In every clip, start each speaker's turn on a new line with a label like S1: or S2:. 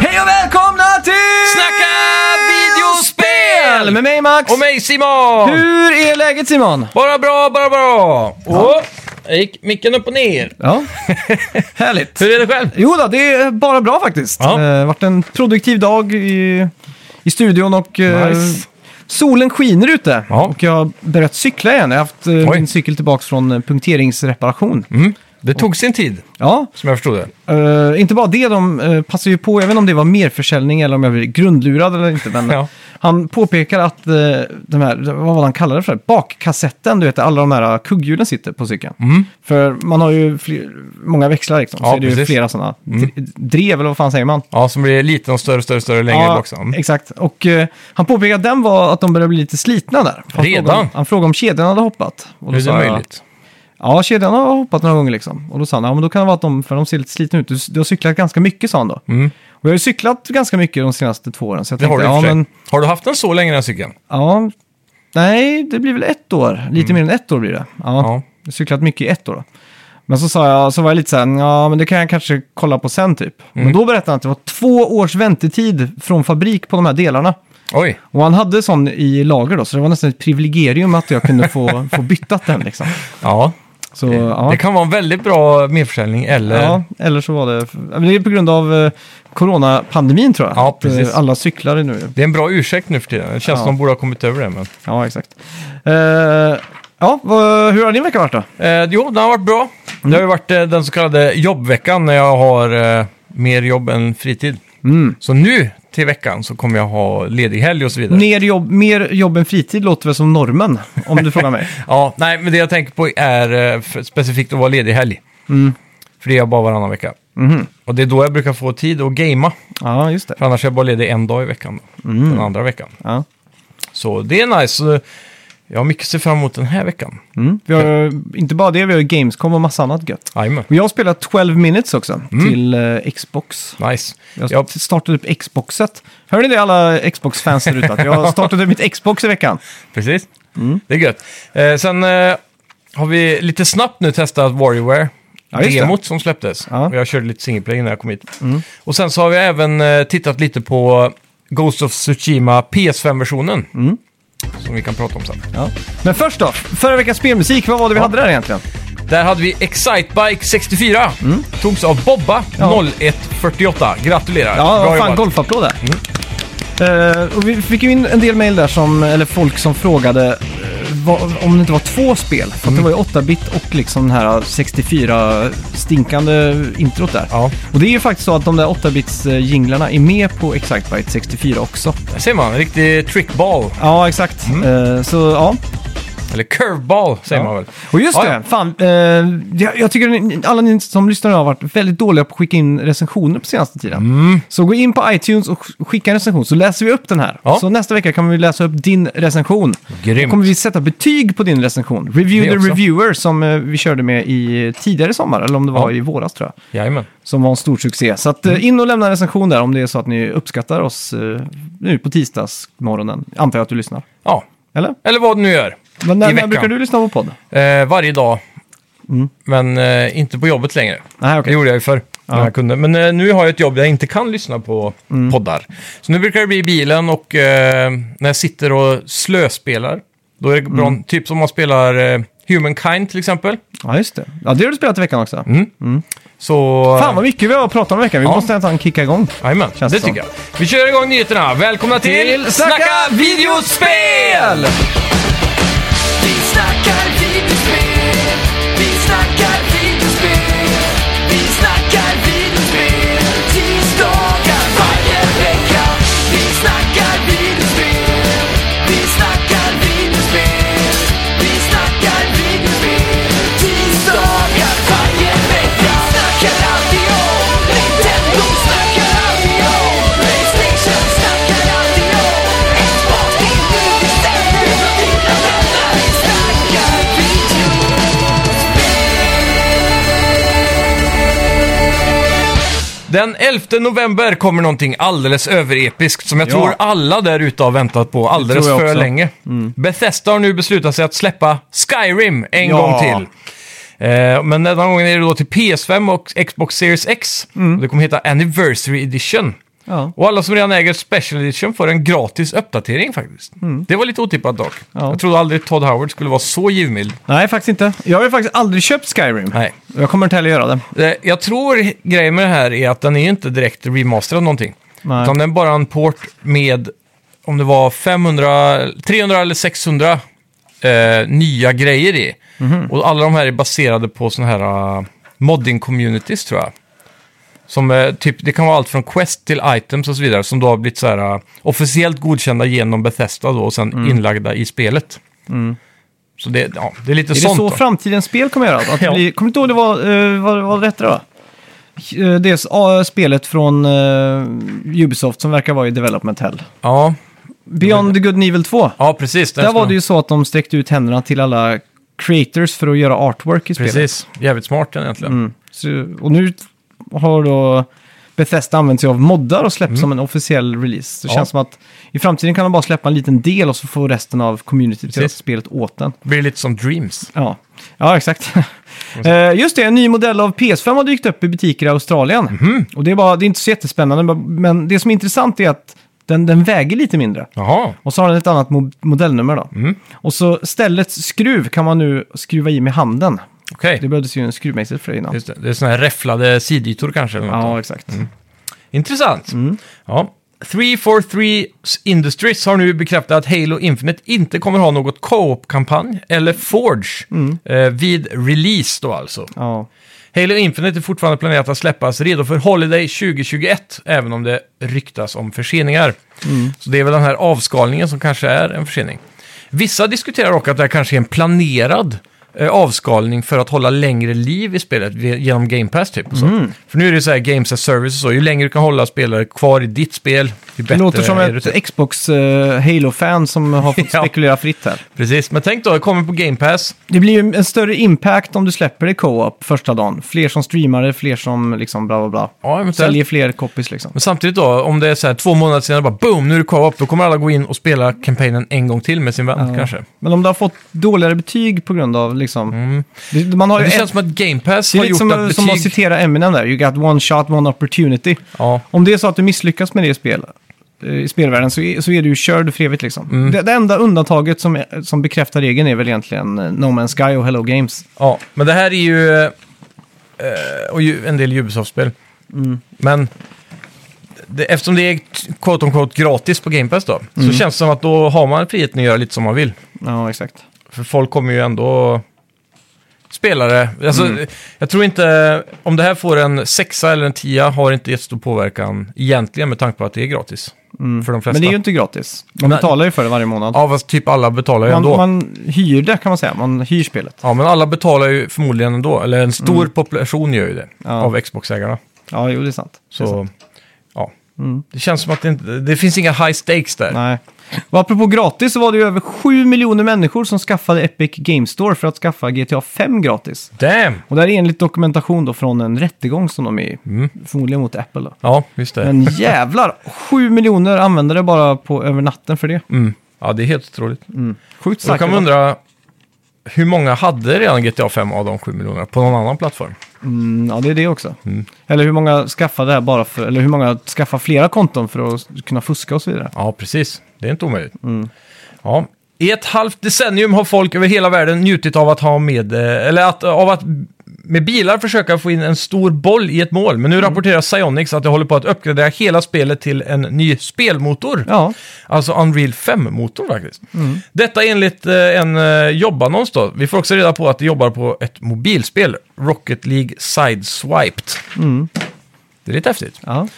S1: Hej och välkomna till
S2: Snacka videospel!
S1: Med mig Max!
S2: Och mig Simon!
S1: Hur är läget Simon?
S2: Bara bra, bara bra! Åh, jag gick micken upp och ner.
S1: Ja, härligt.
S2: Hur är det själv?
S1: Jo då, det är bara bra faktiskt.
S2: Ja.
S1: Det har varit en produktiv dag i, i studion och eh,
S2: Nice.
S1: solen skiner ute.
S2: Ja.
S1: Och jag har börjat cykla igen. Jag har haft eh,
S2: Oj.
S1: min cykel tillbaka från eh, punkteringsreparation.
S2: Mm. Det tog sin tid,
S1: Ja,
S2: som jag förstod det.
S1: eh, inte bara det, de uh, passar ju på, även om det var merförsäljning eller om jag blev grundlurad eller inte. Men
S2: Ja.
S1: Han påpekar att eh, de här, vad var det han kallade det för? Bakkassetten, du vet, där alla de här kugghjulen sitter på cykeln. För man har ju fler, många växlar liksom,
S2: Mm. Ja,
S1: så är det ju
S2: precis. Mm.
S1: flera sådana. dr- Drev, eller vad fan säger man?
S2: Ja, som blir liten och större, större, större längre bak. sen.
S1: exakt. Och eh, han påpekade att den var att de började bli lite slitna där. Han
S2: Redan?
S1: Frågade, om- han frågade om kedjan hade hoppat. Och då
S2: Hur är det
S1: sa jag,
S2: möjligt?
S1: Ja, kedjan har hoppat några gånger liksom. Och då sa han, ja men då kan det vara att de, för de ser lite slitna ut. Du, du har cyklat ganska mycket, sa han då.
S2: Mm.
S1: Och jag har ju cyklat ganska mycket de senaste två åren. Så jag
S2: Det har
S1: tänkte,
S2: du i och
S1: ja
S2: för sig.
S1: men
S2: Har du haft den så länge den här cykeln?
S1: Ja, nej, det blir väl ett år. Lite mer än ett år blir det. Ja,
S2: Mm. Ja.
S1: Jag har cyklat mycket i ett år då. Men så sa jag, så var jag lite så här, ja men det kan jag kanske kolla på sen typ.
S2: Mm.
S1: Men då berättade han att det var två års väntetid från fabrik på de här delarna.
S2: Oj,
S1: Och han hade sån i lager då, så det var nästan ett privilegium att jag kunde få, få byttat den liksom.
S2: ja.
S1: Så, ja.
S2: Det kan vara en väldigt bra merförsäljning eller...
S1: Ja, eller så var det, men det är på grund av eh, coronapandemin tror jag.
S2: Ja,
S1: Att, eh,
S2: precis.
S1: Alla cyklar nu.
S2: Det är en bra ursäkt nu för tiden. Det känns som
S1: Ja.
S2: de borde ha kommit över det. Men...
S1: Ja, exakt. Eh, ja, vad, hur har din vecka varit då?
S2: Eh, jo, den har varit bra. Det
S1: Mm.
S2: har ju varit eh, den så kallade jobbveckan när jag har eh, mer jobb än fritid.
S1: Mm.
S2: Så nu till veckan så kommer jag ha ledig helg och så vidare.
S1: Mer jobb, mer jobb än fritid låter väl som normen, om du frågar mig.
S2: Ja, nej, men det jag tänker på är eh, för- specifikt att vara ledig helg.
S1: Mm.
S2: För det är jag bara varannan vecka.
S1: Mhm.
S2: Och det är då jag brukar få tid att gamea.
S1: Ja, just det.
S2: För annars är jag bara ledig en dag i veckan. Då,
S1: Mm.
S2: Den andra veckan.
S1: Ja.
S2: Så det är nice. Så Jag har mycket att se fram emot den här veckan.
S1: Mm. Vi har ju inte bara det, vi har ju Gamescom och massa annat gött.
S2: Jajamän.
S1: Och jag har spelat 12 minutes också till eh, Xbox.
S2: Nice.
S1: Jag
S2: Ja.
S1: startade upp Xboxet. Hör ni det alla Xbox-fans där ute? Att Jag startade upp mitt Xbox i veckan.
S2: Precis.
S1: Mm.
S2: Det är gött. Eh, sen eh, har vi lite snabbt nu testat WarioWare.
S1: Ja, just det.
S2: demot som släpptes.
S1: Ja. Mm.
S2: Och jag körde lite single play innan jag kom hit. Och sen så har vi även eh, tittat lite på Ghost of Tsushima PS5-versionen.
S1: Mm.
S2: Som vi kan prata om sen.
S1: Ja. Men först då, förra veckans spelmusik, vad var det vi
S2: Ja.
S1: hade där egentligen?
S2: Där hade vi Excitebike 64. Togs av Bobba
S1: Mm. Ja.
S2: 0148.
S1: Ja,
S2: Gratulerar. Bra
S1: vad fan,
S2: jobbat. Mm.
S1: golfapplåd där. Eh, och vi fick ju in en del mejl där, som, eller folk som frågade eh, vad- om det inte var två spel. För att
S2: Mm.
S1: det var ju 8-bit och liksom den här 64-stinkande introt där.
S2: Ja,
S1: Och det är ju faktiskt så att de där 8-bits-jinglarna är med på Exactbite 64 också.
S2: där ser man. En riktig trickball.
S1: Ja, exakt. Eh, så ja.
S2: Eller curveball säger
S1: Ja.
S2: man väl.
S1: Och just
S2: Ja,
S1: det,
S2: ja.
S1: fan. eh, jag, jag tycker ni- alla ni som lyssnar har varit väldigt dåliga på att skicka in recensioner på senaste tiden.
S2: Mm.
S1: Så gå in på iTunes och sk- skicka en recension så läser vi upp den här.
S2: Ja.
S1: Så nästa vecka kommer vi läsa upp din recension. Då
S2: Grymt.
S1: kommer vi sätta betyg på din recension. Review
S2: Det
S1: the
S2: också.
S1: reviewer som eh, vi körde med i tidigare sommar, eller om det var
S2: Ja. Mm.
S1: i våras tror jag.
S2: Jajamän.
S1: Som var en stor succé. Så att, eh, in och lämna en recension där om det är så att ni uppskattar oss eh, nu på tisdagsmorgonen. Antar jag att du lyssnar.
S2: Ja.
S1: Eller?
S2: Eller vad du nu gör.
S1: Men
S2: I
S1: när, när
S2: veckan.
S1: brukar du lyssna på podd?
S2: Eh, varje dag. Men eh, inte på jobbet längre.
S1: Nej,
S2: Det
S1: Mm. okej.
S2: gjorde jag ju förr. När
S1: Ja. Mm.
S2: jag kunde. Men eh, nu har jag ett jobb där jag inte kan lyssna på poddar. Så nu brukar det bli i bilen och eh, när jag sitter och slöspelar. Då är det bra,
S1: Mm.
S2: typ som man spelar eh, Humankind till exempel.
S1: Ja, just det. Ja, det har du spelat i veckan också.
S2: Så...
S1: Fan vad mycket vi har pratat om i veckan. Vi
S2: Mm. Ja.
S1: måste nästan kicka igång.
S2: Jajamän, det
S1: Känns det
S2: tycker jag. Vi kör igång nyheterna. Välkomna till,
S1: Till Snacka
S2: Snacka, videospel!
S3: Vi snackar videospel, vi snackar videospel, vi snackar videospel, tisdagar varje vecka. Vi
S2: Den 11 november kommer någonting alldeles överepiskt som jag
S1: Ja.
S2: tror alla där ute har väntat på alldeles
S1: tror jag
S2: för
S1: också. Mm.
S2: länge. Bethesda har nu beslutat sig att släppa Skyrim en
S1: Ja.
S2: gång till. Eh, Men denna gången är det då till PS5 och Xbox Series X.
S1: Mm.
S2: Det kommer heta Anniversary Edition.
S1: Ja.
S2: Och alla som redan äger Special Edition får en gratis uppdatering faktiskt. Det var lite otippat dock.
S1: Mm. Ja.
S2: Jag trodde aldrig Todd Howard skulle vara så givmild.
S1: Nej, faktiskt inte. Jag har ju faktiskt aldrig köpt Skyrim.
S2: Nej.
S1: Jag kommer inte heller göra det.
S2: Eh, Jag tror grejen med det här är att den är ju inte direkt remasterad någonting.
S1: Nej.
S2: Utan den är bara en port med, om det var 500, 300 eller 600 eh, nya grejer i.
S1: Mhm.
S2: Och alla de här är baserade på sådana här eh, modding-communities tror jag. Som, eh, typ, det kan vara allt från quest till items och så vidare som då har blivit så här, eh, officiellt godkända genom Bethesda då, och sen
S1: Mm.
S2: inlagda i spelet. Så det, ja, det är lite
S1: Är det
S2: sånt
S1: så
S2: då.
S1: framtidens spel kommer göra? Att det
S2: Ja.
S1: blir, kommer du inte ihåg det var, uh, vad vad hette det då? Eh, Det är, ah, spelet från eh, Ubisoft som verkar vara i Development Hell.
S2: ja,
S1: Beyond the Good and Evil 2.
S2: ja, precis. Den
S1: Där
S2: ska-
S1: var det ju så att de sträckte ut händerna till alla creators för att göra artwork i spelet.
S2: Precis, jävligt smart den egentligen.
S1: Mm. Så, och nu har då Bethesda använt sig av moddar och släppt som en officiell release. Så Det
S2: Mm. Ja.
S1: känns som att i framtiden kan de bara släppa en liten del och så får resten av communityt göra
S2: Precis.
S1: spelet åt den.
S2: Blir lite som Dreams.
S1: Ja, ja exakt. Eh, Just det, en ny modell av PS5 har dykt upp i butiker i Australien.
S2: Mhm.
S1: Och det är, bara, det är inte så jättespännande, men det som är intressant är att den, den väger lite mindre.
S2: Jaha,
S1: Och så har den ett annat mo- modellnummer då.
S2: Mhm.
S1: Och så ställets skruv kan man nu skruva i med handen.
S2: okej.
S1: Det behövdes ju en skruvmejsel för det innan.
S2: Just Mm. det. det är sådana här räfflade sidytor kanske. Eller något.
S1: Ja, Mm. exakt.
S2: Intressant. Ja. 343 Industries har nu bekräftat att Halo Infinite inte kommer ha något co-op-kampanj eller Forge
S1: Mm.
S2: eh, vid release då alltså.
S1: Ja.
S2: Halo Infinite är fortfarande planerat att släppas redo för Holiday 2021, även om det ryktas om förseningar.
S1: Mm.
S2: Så det är väl den här avskalningen som kanske är en försening. Vissa diskuterar dock att det här kanske är en planerad eh, avskalning för att hålla längre liv i spelet vi- genom Game Pass typ. Och så.
S1: Mm.
S2: För nu är det så här Games as Service och så, ju längre du kan hålla spelare kvar i ditt spel, ju bättre
S1: Det låter som
S2: är det.
S1: ett
S2: Typ.
S1: Xbox eh, Halo-fan som har fått
S2: Ja.
S1: spekulera fritt här.
S2: Precis, men tänk då, det kommer på Game Pass.
S1: Det blir ju en större impact om du släpper det co-op första dagen. Fler som streamar det, fler som liksom bla bla bla.
S2: Ja, eventuellt.
S1: Säljer fler copies liksom.
S2: Men samtidigt då, om det är så här två månader senare bara boom, nu är det co-op, då kommer alla gå in och spela kampanjen en gång till med sin vän kanske.
S1: Men om du har fått dåligare betyg på grund av liksom... Det, man har
S2: Ja,
S1: ju
S2: Det
S1: ett-
S2: känns som att Game Pass
S1: det är
S2: har
S1: lite
S2: gjort
S1: som,
S2: att
S1: som att
S2: betyg...
S1: citera Eminem där, you got one shot, one opportunity.
S2: Ja,
S1: Om det är så att du misslyckas med det i spel, eh, i spelvärlden så är, så är du ju körd för evigt liksom.
S2: Mm.
S1: Det, det enda undantaget som, är, som bekräftar regeln är väl egentligen eh, No Man's Sky och Hello Games.
S2: ja, men det här är ju... eh, och ju en del Ubisoft-spel.
S1: Mm.
S2: Men det, eftersom det är t- quote on quote gratis på Game Pass då,
S1: Mm.
S2: så känns det som att då har man friheten att göra lite som man vill.
S1: Ja, exakt.
S2: För folk kommer ju ändå... Spelare, alltså,
S1: Mm.
S2: jag tror inte, om det här får en sexa eller en tia har inte jättestor påverkan egentligen med tanke på att det är gratis. För de flesta.
S1: Mm. Men det är ju inte gratis. Man
S2: Nej.
S1: betalar ju för det varje månad.
S2: Ja, fast typ alla betalar ju
S1: man,
S2: ändå.
S1: man hyr det kan man säga, man hyr spelet.
S2: Ja, men alla betalar ju förmodligen ändå. Eller en stor population gör ju det.
S1: Mm. Ja.
S2: Av Xbox-ägarna.
S1: Ja, jo det är sant. Det är sant.
S2: Så, ja. Det känns som att det inte... Det finns inga high stakes där.
S1: Mm. Nej. Och apropå gratis så var det ju över 7 miljoner människor som skaffade Epic Game Store för att skaffa GTA 5 gratis.
S2: Damn!
S1: Och det här är enligt dokumentation då från en rättegång som de är i,
S2: Mm.
S1: förmodligen mot Apple då.
S2: Ja, just det.
S1: Men jävlar, 7 miljoner användare bara på över natten för det.
S2: Mm. Ja, det är helt otroligt.
S1: Sjukt
S2: Så då
S1: starkt.
S2: kan man undra... Hur många hade redan GTA 5 av de 7 miljonerna på någon annan plattform?
S1: Mm, ja, det är det också. Eller hur många skaffade det här bara för, eller hur många skaffar flera konton för att kunna fuska och så vidare.
S2: Ja, precis. Det är inte omöjligt. Ja. I ett halvt decennium har folk över hela världen njutit av att ha med, eh, eller att, av att med bilar försöka få in en stor boll i ett mål. Men nu rapporterar Psyonix att de håller på att uppgradera hela spelet till en ny spelmotor.
S1: Ja,
S2: Alltså Unreal 5-motor faktiskt.
S1: Mm.
S2: Detta enligt eh, en eh, jobbannons då. Vi får också reda på att de jobbar på ett mobilspel, Rocket League Sideswiped.
S1: Mm.
S2: Det är lite häftigt.
S1: ja.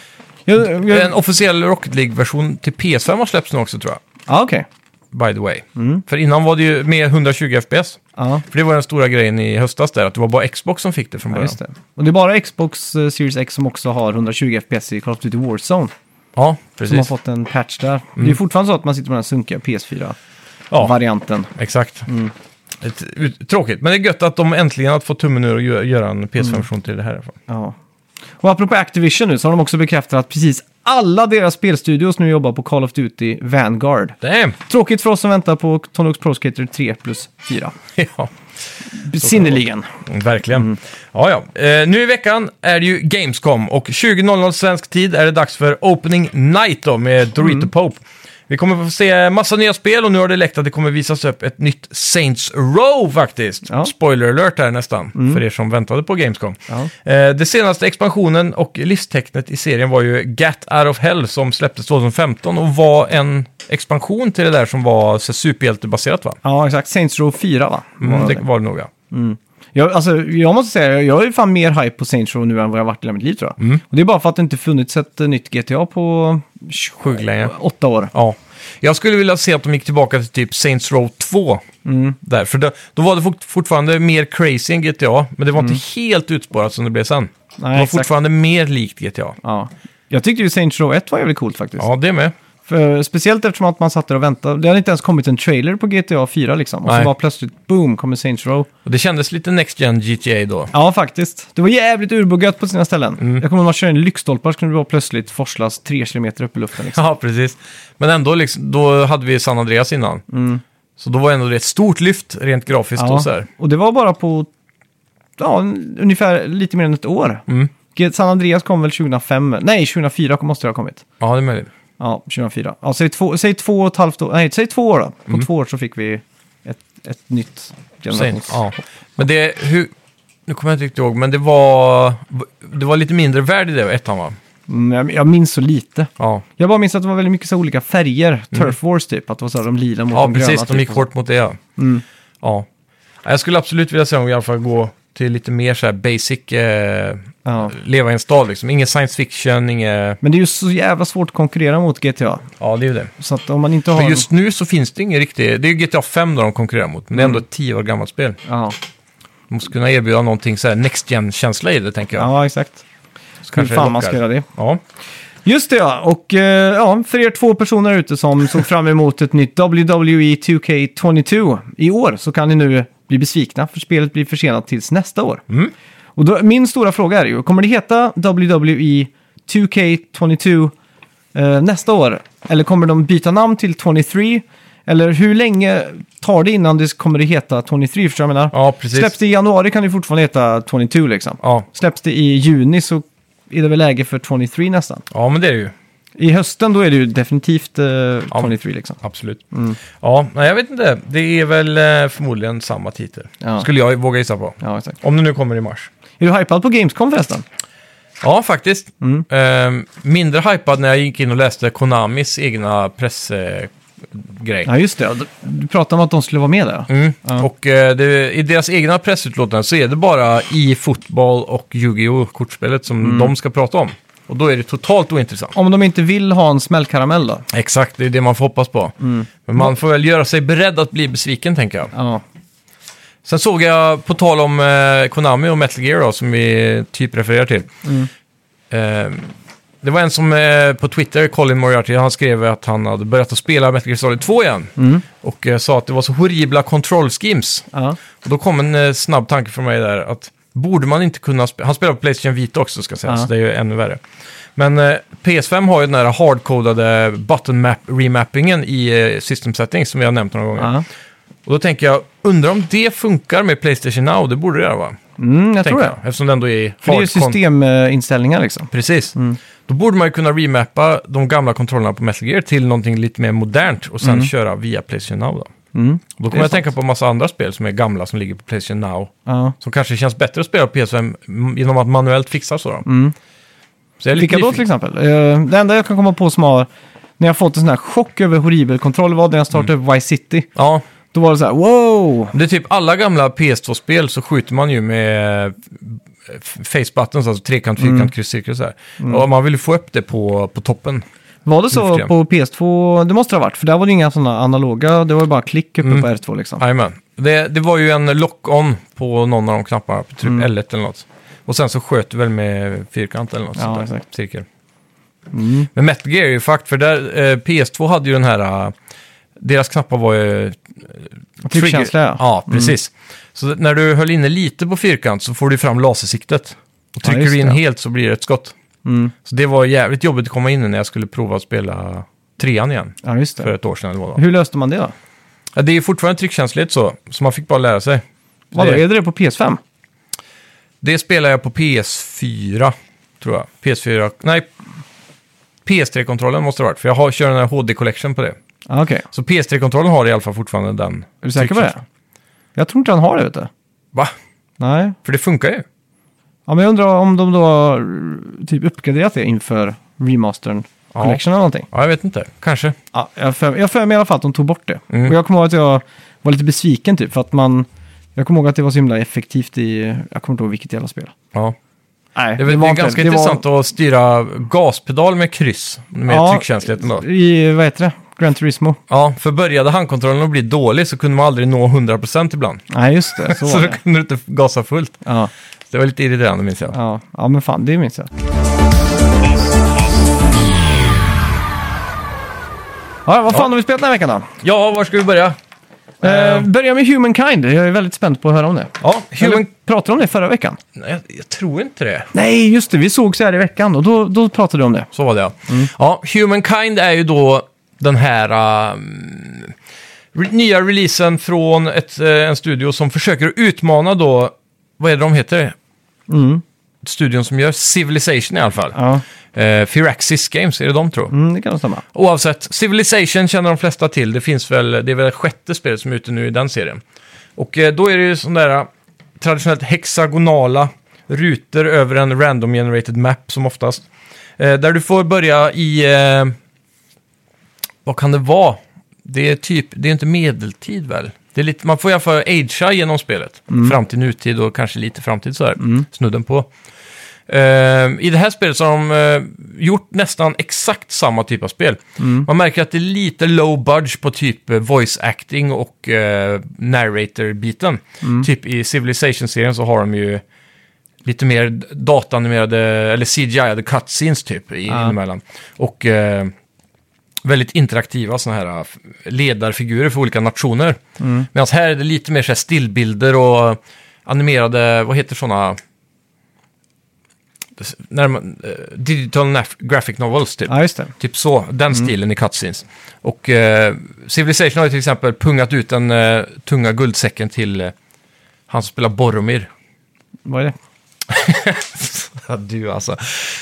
S1: Jag, jag,
S2: En officiell Rocket League-version till PS5 har släppts nu också tror jag
S1: ja okej.
S2: by the way.
S1: Mm.
S2: För innan var det ju med 120 FPS.
S1: Ja,
S2: För det var den stora grejen i höstas där, att det var bara Xbox som fick det från
S1: ja,
S2: början.
S1: just det. Och det är bara Xbox eh, Series X som också har 120 FPS i Call of Duty Warzone.
S2: Ja,
S1: Som har
S2: precis. Mm.
S1: fått en patch där. Det är ju fortfarande så att man sitter med den här sunkiga PS4-varianten.
S2: Ja, exakt.
S1: Mm.
S2: Ett,
S1: Mm.
S2: ut, tråkigt, men det är gött att de äntligen har fått tummen ur och gö- göra en PS5-version till det här. i alla fall.
S1: Ja. Och apropå Activision nu så har de också bekräftat att precis alla deras spelstudios nu jobbar på Call of Duty Vanguard.
S2: Damn!
S1: Tråkigt för oss som väntar på Tony Hawk's Pro Skater 3 plus 4.
S2: Ja,
S1: Synnerligen.
S2: verkligen.
S1: Mm.
S2: Ja, ja. Eh, nu i veckan är det ju Gamescom och 20.00 svensk tid är det dags för Opening Night då med
S1: Mm.
S2: Dorito Pope. Vi kommer få se massa nya spel och nu har det läckt att det kommer visas upp ett nytt Saints Row faktiskt.
S1: Ja. Mm.
S2: Spoiler alert här nästan, för er som väntade på Gamescom.
S1: Ja.
S2: Eh, det senaste expansionen och livstecknet i serien var ju Get Out of Hell som släpptes 2015 och var en expansion till det där som var så superhjältebaserat va?
S1: Ja, exakt. Saints Row 4 va?
S2: Mm,
S1: Var
S2: det
S1: det.
S2: var det nog ja.
S1: Jag, alltså, jag måste säga, jag är fan mer hype på Saints Row nu än vad jag varit i hela mitt liv tror jag.
S2: Mm.
S1: Och det är bara för att det inte funnits ett eh, nytt GTA på
S2: Sjukt länge.
S1: åtta år.
S2: Ja. Jag skulle vilja se att de gick tillbaka till typ Saints Row 2. Där. För då, då var det fort, fortfarande mer crazy än GTA, men det var inte helt utspårat som det blev sen. det var
S1: exakt.
S2: fortfarande mer likt GTA.
S1: Ja. Jag tyckte ju Saints Row 1 var jävligt coolt faktiskt.
S2: Ja, det med.
S1: För, eh, speciellt eftersom att man satt där och väntade. Det hade inte ens kommit en trailer på GTA 4 liksom. Och
S2: Nej.
S1: så bara plötsligt, boom, kommer Saints Row.
S2: Och det kändes lite Next Gen GTA då.
S1: Ja, faktiskt. Det var jävligt urbuggat på sina ställen.
S2: Mm.
S1: Jag kommer ihåg man körde en lyktstolpar så kunde det bara plötsligt forslas tre kilometer upp i luften. Liksom.
S2: Ja, precis. Men ändå, liksom, då hade vi San Andreas innan. Så då var ändå det ett stort lyft rent grafiskt. Och så här.
S1: Och det var bara på ja, en- ungefär lite mer än ett år.
S2: Mm.
S1: G- San Andreas kom väl 2005? Nej, 2004 kom- måste det ha kommit.
S2: Ja, det är möjligt.
S1: Ja, 2004. Ja, säg, två, säg två och ett halvt år. Nej, säg två år då. På
S2: Mm.
S1: två år så fick vi ett, ett nytt generations...
S2: Saints. Ja. Men det, hur, nu kommer jag inte riktigt ihåg, men det var, det var lite mindre värd i det, ettan va?
S1: Mm, jag, jag minns så lite.
S2: Ja,
S1: Jag bara minns att det var väldigt mycket så olika färger. Turf Wars typ. Att det var så här, de lila mot
S2: Mm. ja
S1: de gröna. Mm.
S2: precis. De
S1: typ.
S2: gick hårt mot det. Ja. Ja. Jag skulle absolut vilja se om vi i alla fall går till lite mer så här basic, eh,
S1: Ja.
S2: leva i en stad liksom. Ingen science fiction, inget...
S1: Men det är ju så jävla svårt att konkurrera mot GTA.
S2: Ja, det är ju det.
S1: Så att om man inte har...
S2: Men just nu så finns det ingen riktig... Det är ju GTA 5 då de konkurrerar mot, men det är
S1: Mm.
S2: ändå ett tio år gammalt spel.
S1: en... ja.
S2: De måste kunna erbjuda någonting så här next gen-känsla i det, tänker jag.
S1: ja, exakt.
S2: så
S1: Hur
S2: kanske det
S1: fan man ska
S2: lockar.
S1: göra det.
S2: Ja,
S1: Just det ja, och eh, ja, för er två personer ute som såg fram emot ett nytt E WWE 2K22 i år så kan ni nu bli besvikna för spelet blir försenat tills nästa år.
S2: Mm.
S1: Och då, min stora fråga är ju, kommer det heta E WWE 2K22 eh, nästa år? Eller kommer de byta namn till 23? Eller hur länge tar det innan det kommer det heta 23? Förstår du vad jag menar?
S2: ja precis.
S1: Släpps det i januari kan det fortfarande heta 22 liksom.
S2: Ja.
S1: Släpps det i juni så är det väl läge för 23 nästan.
S2: ja, men det är det ju.
S1: I hösten då är det ju definitivt eh, 23 liksom.
S2: Absolut. Ja, nej, jag vet inte. Det är väl eh, förmodligen samma titel.
S1: Ja.
S2: Skulle jag våga gissa på.
S1: Ja, exakt.
S2: Om det nu kommer i mars.
S1: Är du hypad på Gamescom förresten?
S2: Ja, faktiskt.
S1: Mm.
S2: Ehm, mindre hypad när jag gick in och läste Konamis egna pressgrej.
S1: Ja, just det. Ja, du- Du pratade om att de skulle vara med där. ja.
S2: Mm. Och eh, det, i deras egna pressutlåtanden så är det bara i fotboll och Yu-Gi-Oh! kortspelet som
S1: Mm.
S2: de ska prata om. Och då är det totalt ointressant.
S1: Om de inte vill ha en smällkaramell då?
S2: Exakt, det är det man får hoppas på.
S1: Mm.
S2: Men man får väl göra sig beredd att bli besviken, tänker jag.
S1: Ja.
S2: Sen såg jag, på tal om eh, Konami och Metal Gear då, som vi typ refererar till.
S1: Mm.
S2: Eh, det var en som eh, på Twitter, Colin Moriarty, han skrev att han hade börjat att spela Metal Gear Solid 2 igen.
S1: Mm.
S2: Och eh, sa att det var så horribla control schemes.
S1: ja.
S2: Och då kom en eh, snabb tanke från mig där att borde man inte kunna... spe- Han spelar på Playstation Vita också ska sägas,
S1: Ja.
S2: det är ju ännu värre. Men eh, PS5 har ju den här hardcodade button map remappingen i eh, system settings som vi har nämnt några gånger.
S1: ja.
S2: Och då tänker jag, undrar om det funkar med Playstation Now? Det borde det göra va?
S1: Mm, jag
S2: Tänker
S1: tror
S2: jag.
S1: det.
S2: Eftersom det ändå är
S1: För det är ju
S2: hardcon-
S1: systeminställningar liksom.
S2: Precis. Då borde man ju kunna remappa de gamla kontrollerna på Metal Gear till någonting lite mer modernt och sen köra via Playstation Now. Då,
S1: Mm.
S2: då kommer jag
S1: sant.
S2: tänka på en massa andra spel som är gamla som ligger på Playstation Now.
S1: Ja.
S2: Som kanske känns bättre att spela på PS5 m- genom att manuellt fixa så. Då. Så jag är lite
S1: Mm. Vilka då till
S2: nyfiken.
S1: exempel? Eh, det enda jag kan komma på som har, när jag fått en sån här chock över horribel kontroll var när jag startade
S2: Mm.
S1: upp Vice City.
S2: Ja,
S1: Då var det så här, wow!
S2: det är typ alla gamla PS2-spel så skjuter man ju med eh, f- face buttons, alltså trekant,
S1: Mm.
S2: fyrkant, kryss, cirkel så här. Och man vill ju få upp det på, på toppen.
S1: Var det
S2: Nu för
S1: så
S2: tiden.
S1: på PS2? Det måste det ha varit, för där var det inga sådana analoga, det var ju bara klick uppe
S2: Mm.
S1: på R2 liksom.
S2: Jajamän. Det, det var ju en lock-on på någon av de knapparna, på typ
S1: Mm.
S2: L1 eller något. Och sen så sköt du väl med fyrkant eller något
S1: Ja,
S2: sånt där,
S1: exakt.
S2: cirkel.
S1: Mm.
S2: Men Metal Gear är ju fakt, för där, eh, PS2 hade ju den här, eh, deras knappar var ju... eh,
S1: Tryckkänsla,
S2: trigger-
S1: ja. Mm.
S2: Ja, precis. Så när du höll inne lite på fyrkant så får du fram lasersiktet. Och trycker
S1: just
S2: du in
S1: det.
S2: helt så blir det ett skott. Så det var jävligt jobbigt att komma in när jag skulle prova att spela trean igen.
S1: Ja, just det.
S2: För ett år sedan eller vad det var.
S1: Hur löste man det då?
S2: Ja, det är fortfarande tryckkänsligt så, så man fick bara lära sig. Så
S1: Vadå,
S2: det,
S1: är det det på PS5?
S2: det spelar jag på PS4, tror jag. PS4, nej. PS3-kontrollen måste det ha varit, för jag har, kör den här HD-collection på det.
S1: Ah, Okej,
S2: Så PS3-kontrollen har i alla fall fortfarande den.
S1: är du säker på
S2: Typ
S1: det? Jag tror inte han har det, vet du.
S2: Va?
S1: Nej.
S2: För det funkar ju.
S1: Ja, men jag undrar om de då har eh, typ uppgraderat det inför remastern
S2: Ja.
S1: collection eller någonting.
S2: Ja, jag vet inte. Kanske.
S1: Ja, jag har för- jag har för mig i alla fall att de tog bort det.
S2: Mm.
S1: Och jag kommer ihåg att jag var lite besviken typ, för att man... Jag kommer ihåg att det var så himla effektivt i... Jag kommer inte ihåg vilket jävla spel.
S2: Ja.
S1: Nej,
S2: Det, är väl- det är ganska intressant att styra gaspedal med kryss, med
S1: Ja.
S2: tryckkänsligheten då.
S1: I, vad heter det? Gran Turismo.
S2: Ja, för började handkontrollen att bli dålig så kunde man aldrig nå 100% ibland.
S1: Nej, just det. Så
S2: Så
S1: var
S2: då
S1: det.
S2: kunde du inte gasa fullt.
S1: Ja,
S2: Det var lite irriterande minns jag.
S1: ja, ja, men fan, det minns jag. Ja, vad fan har vi spelat den här veckan då?
S2: Ja, var ska vi börja?
S1: Eh, börja med Humankind. Jag är väldigt spänd på att höra om det.
S2: Ja,
S1: Eller,
S2: human...
S1: pratade du om det förra veckan?
S2: Nej, jag, jag tror inte det.
S1: Nej, just det. Vi såg så här i veckan och då, då pratade du om det.
S2: Så var det ja. Ja, Humankind är ju då den här ehm, re- nya releasen från ett, eh, en studio som försöker utmana då, vad är det de heter?
S1: Mm.
S2: Studion som gör Civilization i alla fall.
S1: Ja,
S2: Eh, Firaxis Games, är det de tror?
S1: mm, det kan stämma.
S2: Oavsett, Civilization känner de flesta till. Det finns väl, det är väl det sjätte spelet som är ute nu i den serien. Och eh, då är det ju sån där eh, traditionellt hexagonala rutor över en random generated map som oftast. Eh, Där du får börja i, eh, vad kan det vara? Det är typ, det är inte medeltid väl? Det är lite, man får i alla fall agea genom spelet. Fram till nutid och kanske lite framtid sådär. Snudden på. Eh, I det här spelet så har de eh, gjort nästan exakt samma typ av spel. Man märker att det är lite low budge på typ eh, voice acting och eh, narrator-biten. Typ i Civilization-serien så har de ju lite mer datanimerade, eller CGI-ade cutscenes typ i-
S1: Ja.
S2: inemellan. Och eh, väldigt interaktiva sådana här eh, ledarfigurer för olika nationer. Mm. Medan här är det lite mer så här stillbilder och animerade, vad heter sådana? När man, eh, digital naf- graphic novels typ.
S1: Ja, Mm. just det.
S2: Typ så, den stilen i cutscenes. Och eh, Civilization har ju till exempel pungat ut den eh, tunga guldsäcken till eh, han som spelar Boromir.
S1: Vad är det?
S2: Ja, du alltså.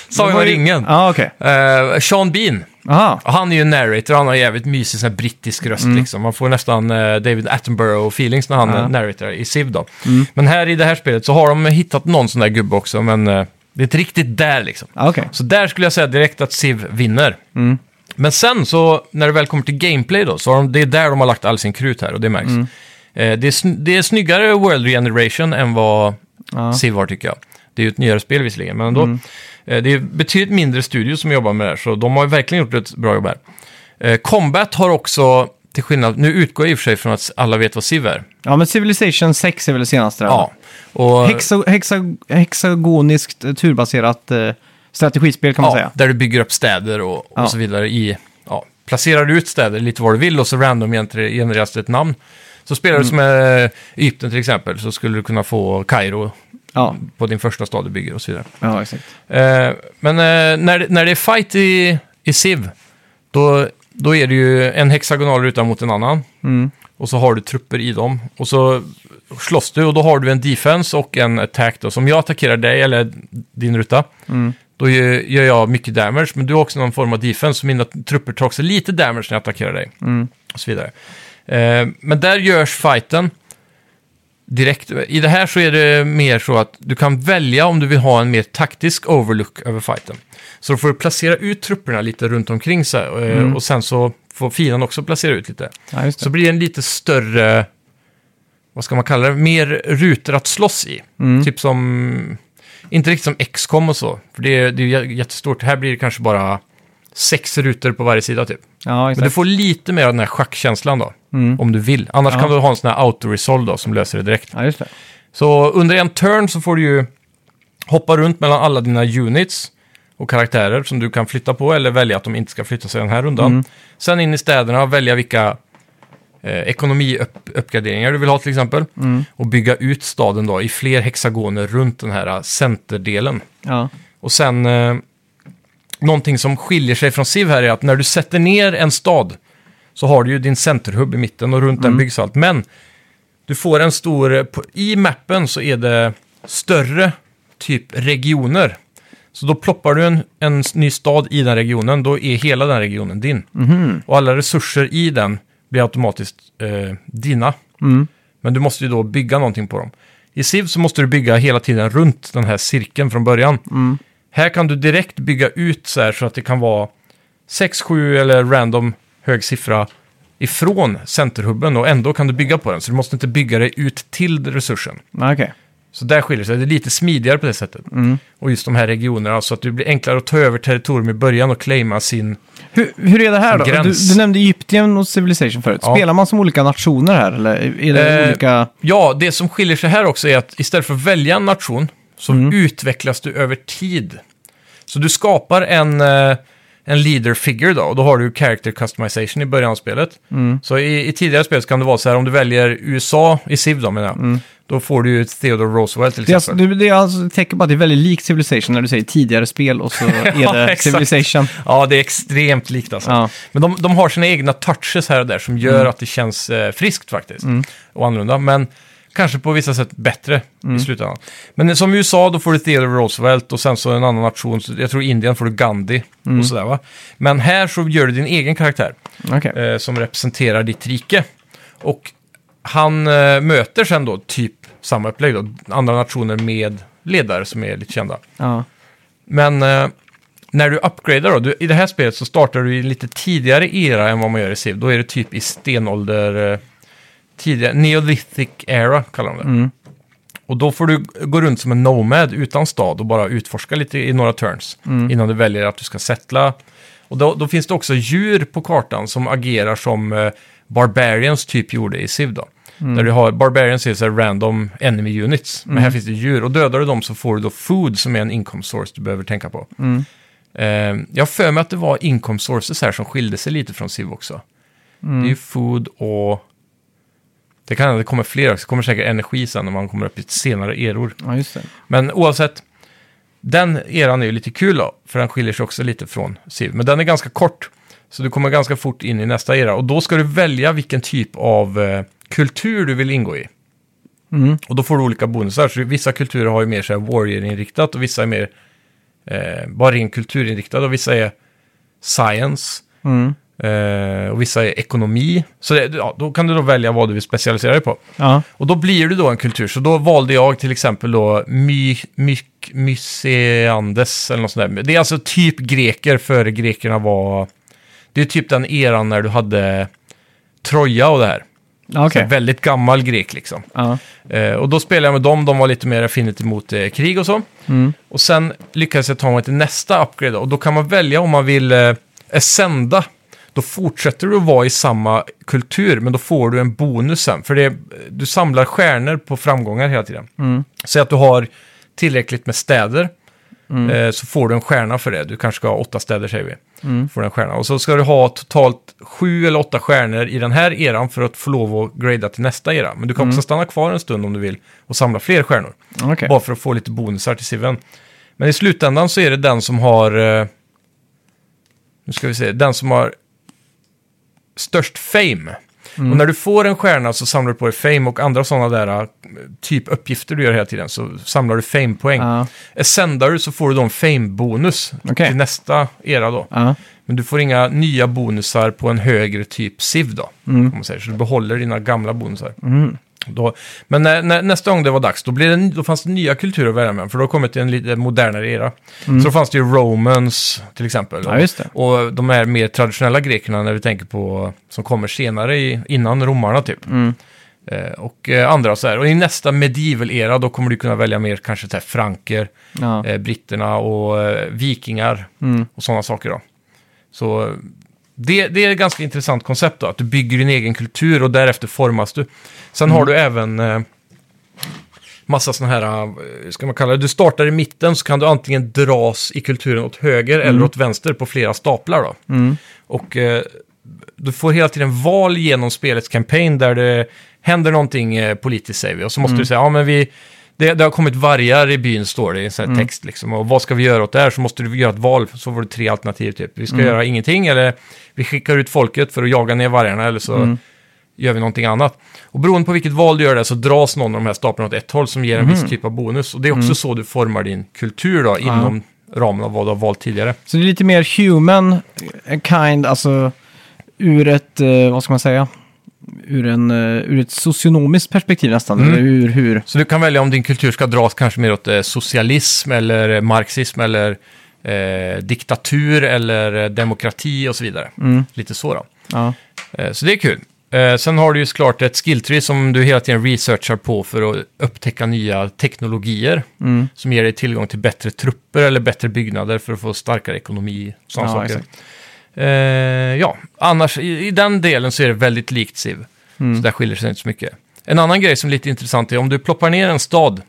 S2: Sagan om
S1: Vad är-
S2: ringen.
S1: Ja, okej.
S2: Eh, Sean Bean.
S1: Aha.
S2: Och Han är ju en narrator, han har jävligt mysig sån här brittisk röst liksom. Man får nästan eh, David Attenborough-feelings när han
S1: Ja.
S2: ja. Mm. narratar i Civ då. Men här i det här spelet så har de hittat någon sån där gubbe också, men eh, det är inte riktigt där liksom.
S1: Ja, okej.
S2: Så där skulle jag säga direkt att Civ vinner.
S1: Mm.
S2: Men sen så, när det väl kommer till gameplay då, så har de, det är där de har lagt all sin krut här och det
S1: Mm.
S2: märks. Eh, det, är sn- det är snyggare World Regeneration än vad
S1: Ja. Mm.
S2: Civ var tycker jag. Det är ju ett nyare spel visserligen, men ändå. Eh, det är betydligt mindre studios som jobbar med det här, så de har ju verkligen gjort ett bra jobb här. Eh, combat har också, till skillnad, nu utgår jag i och för sig från att alla vet vad Civ är.
S1: Ja, men Civilization 6 är väl det senaste där?
S2: Ja. Och,
S1: Hexa, hexa, hexagoniskt eh, turbaserat eh, strategispel kan man
S2: ja,
S1: säga.
S2: Där du bygger upp städer och, och
S1: Ja.
S2: så vidare. I, ja, placerar du ut städer lite var du vill och så random gener- genereras det ett namn. Så spelar
S1: Mm.
S2: du som eh, Egypten till exempel så skulle du kunna få Kairo
S1: Ja,
S2: på din första stad du bygger och så vidare.
S1: ja exakt.
S2: Eh, men eh, när, det- när det är fight i, i Civ, då, då är det ju en hexagonal ruta mot en annan.
S1: Mm.
S2: Och så har du trupper i dem. Och så slåss du och då har du en defense och en attack. Då. Så om jag attackerar dig eller din ruta, då gör gör jag mycket damage. Men du har också någon form av defense, så mina trupper tar också lite damage när jag attackerar dig. Och så vidare. Eh, men där görs fighten direkt. I det här så är det mer så att du kan välja om du vill ha en mer taktisk overlook över fighten. Så då får du placera ut trupperna lite runt omkring så här, eh,
S1: Mm.
S2: och sen så får fienden också placera ut lite.
S1: Ja, just det.
S2: Så blir det en lite större, vad ska man kalla det, mer rutor att slåss i.
S1: Mm.
S2: Typ som, inte riktigt som XCOM och så, för det är, det är ju jättestort. Här blir det kanske bara sex rutor på varje sida typ.
S1: ja,
S2: Men du
S1: exakt.
S2: får lite mer av den här schackkänslan då,
S1: Mm.
S2: om du vill. Annars
S1: Ja.
S2: kan du ha en sån här auto-resolve då, som löser det direkt.
S1: Ja, just det.
S2: Så under en turn så får du ju hoppa runt mellan alla dina units och karaktärer som du kan flytta på eller välja att de inte ska flytta sig den här rundan. Sen in i städerna och välja vilka eh, ekonomiuppgraderingar du vill ha till exempel. Och bygga ut staden då i fler hexagoner runt den här eh, centerdelen.
S1: Ja.
S2: Och sen, eh, någonting som skiljer sig från Civ här är att när du sätter ner en stad så har du ju din centerhubb i mitten och runt den byggs allt. Men du får en stor, eh, på- i mappen så är det större typ regioner. Så då ploppar du en, en s- ny stad i den regionen, då är hela den regionen din. Och alla resurser i den blir automatiskt eh, dina. Men du måste ju då bygga någonting på dem. I Civ så måste du bygga hela tiden runt den här cirkeln från början. Här kan du direkt bygga ut så här så att det kan vara 6, 7 eller random hög siffra ifrån centerhubben och ändå kan du bygga på den. Så du måste inte bygga dig ut till resursen.
S1: Okej.
S2: Så där skiljer sig. Det är lite smidigare på det sättet. Och just de här regionerna, så att det blir enklare att ta över territorium i början och claima sin...
S1: Hur, hur är det här då? Du,
S2: Gräns.
S1: du nämnde Egypten och Civilization förut.
S2: Ja.
S1: Spelar man som olika nationer här eller är det
S2: Eh,
S1: olika...
S2: Ja, det som skiljer sig här också är att istället för att välja en nation så
S1: Mm.
S2: utvecklas du över tid. Så du skapar en, eh, en leader figure då, och då har du character customization i början av spelet.
S1: Mm.
S2: Så i, i tidigare spel så kan det vara så här, om du väljer USA i Civ då menar jag, då får du ju Theodore Roosevelt till
S1: Mm. Det är
S2: exempel.
S1: alltså, det, det är alltså, jag tänker bara att det är väldigt likt Civilization när du säger tidigare spel och så är
S2: Ja,
S1: det
S2: exakt.
S1: Civilization.
S2: Ja, det är extremt likt alltså.
S1: Ja.
S2: Men de, de har sina egna touches här och där som gör att det känns eh, friskt faktiskt. Och annorlunda, men kanske på vissa sätt bättre i slutändan. Men som i USA, då får du Theodore Roosevelt och sen så en annan nation, så jag tror Indien får du Gandhi och sådär va. Men här så gör du din egen karaktär
S1: Okej.
S2: eh, som representerar ditt rike. Och han eh, möter sen då typ samma upplägg då, andra nationer med ledare som är lite kända.
S1: Ja.
S2: Men eh, när du uppgraderar då, du, i det här spelet så startar du i lite tidigare era än vad man gör i Civ. Då är det typ i stenålder, eh, tidigare, neolithic era kallar de det. Och då får du gå runt som en nomad utan stad och bara utforska lite i några turns innan du väljer att du ska settla. Och då, då finns det också djur på kartan som agerar som eh, Barbarians typ gjorde i Civ då. Där du har, Barbarians är så här random enemy units, men här finns det djur. Och dödar du dem så får du då food som är en income source du behöver tänka på. Eh, jag har för mig att det var income sources här som skilde sig lite från Civ också. Det är ju food och... Det kan det kommer fler också. Det kommer säkert energi sen när man kommer upp i senare eror.
S1: ja, just det.
S2: Men oavsett, den eran är ju lite kul då, för den skiljer sig också lite från Civ. Men den är ganska kort, så du kommer ganska fort in i nästa era. Och då ska du välja vilken typ av eh, kultur du vill ingå i. Och då får du olika bonusar. Så vissa kulturer har ju mer så här warrior-inriktat och vissa är mer eh, bara ren kulturinriktad och vissa är science.
S1: Mm.
S2: Eh, och vissa är ekonomi. Så det, ja, då kan du då välja vad du vill specialisera dig på.
S1: Ja.
S2: Och då blir du då en kultur. Så då valde jag till exempel då my, my, Myseandes eller något sånt där. Det är alltså typ greker före grekerna var... Det är typ den eran när du hade Troja och det här.
S1: Ja,
S2: Så
S1: Okej.
S2: Väldigt gammal grek liksom.
S1: Ja.
S2: Eh, och då spelade jag med dem, de var lite mer affinity mot eh, krig och så.
S1: Mm.
S2: Och sen lyckades jag ta mig till nästa upgrade och då kan man välja om man vill eh, ascenda. Då fortsätter du att vara i samma kultur, men då får du en bonus sen. För det, du samlar stjärnor på framgångar hela tiden. Säg att du har tillräckligt med städer, eh, så får du en stjärna för det. Du kanske ska ha åtta städer, säger vi. Får du en stjärna. Och så ska du ha totalt sju eller åtta stjärnor i den här eran för att få lov att grada till nästa era. Men du kan också stanna kvar en stund om du vill och samla fler stjärnor.
S1: Okej.
S2: Bara för att få lite bonusar till siven. Men i slutändan så är det den som har... Eh, nu ska vi se. Den som har störst fame. Och när du får en stjärna så samlar du på dig fame och andra sådana där eh, typ uppgifter du gör hela tiden så samlar du fame-poäng. Eh,
S1: Ja.
S2: Sändar du så får du då en fame-bonus
S1: Okej.
S2: till nästa era då.
S1: Ja.
S2: Men du får inga nya bonusar på en högre typ SIV då.
S1: Mm.
S2: Om man säger. Så du behåller dina gamla bonusar. Då, men när, när, nästa gång det var dags, då, blev det, då fanns det nya kulturer att välja mellan. För då har det kommit till en lite modernare era. Så då fanns det ju romans till exempel.
S1: Mm. Ja, just det.
S2: Och de här mer traditionella grekerna när vi tänker på, som kommer senare i, innan romarna typ.
S1: Mm.
S2: Eh, och eh, andra så här. Och i nästa medieval-era då kommer du kunna välja mer kanske så här, franker,
S1: Ja.
S2: eh, britterna och eh, vikingar och sådana saker då. Så eh, det, det är ett ganska intressant koncept då, att du bygger din egen kultur och därefter formas du. Sen har du även eh, massa sådana här, eh, ska man kalla det, du startar i mitten så kan du antingen dras i kulturen åt höger eller åt vänster på flera staplar då. Och eh, du får hela tiden val genom spelets campaign där det händer någonting eh, politiskt, säger vi. Och så måste du säga, ja men vi... Det, det har kommit vargar i byn, står det i en sån här text. Liksom. Och vad ska vi göra åt det här? Så måste du göra ett val, så får du tre alternativ. Typ. Vi ska göra ingenting, eller vi skickar ut folket för att jaga ner vargarna, eller så gör vi någonting annat. Och beroende på vilket val du gör där så dras någon av de här staplarna åt ett håll som ger en viss typ av bonus. Och det är också så du formar din kultur då, inom ramen av vad du har valt tidigare.
S1: Så det är lite mer human kind, alltså ur ett, eh, vad ska man säga, ur, en, eh, ur ett socionomiskt perspektiv nästan.
S2: Mm.
S1: Eller ur hur,
S2: Så du kan välja om din kultur ska dras kanske mer åt eh, socialism eller eh, marxism eller eh, diktatur eller eh, demokrati och så vidare. Lite så då.
S1: ja.
S2: Eh, Så det är kul. Eh, Sen har du ju såklart ett skilltree som du hela tiden researchar på för att upptäcka nya teknologier
S1: Mm,
S2: som ger dig tillgång till bättre trupper eller bättre byggnader för att få starkare ekonomi. Sådana
S1: Ja,
S2: saker.
S1: exakt.
S2: Eh, ja, annars i, i den delen så är det väldigt likt Civ.
S1: Mm.
S2: Så där skiljer det sig inte så mycket. En annan grej som är lite intressant är om du ploppar ner en stad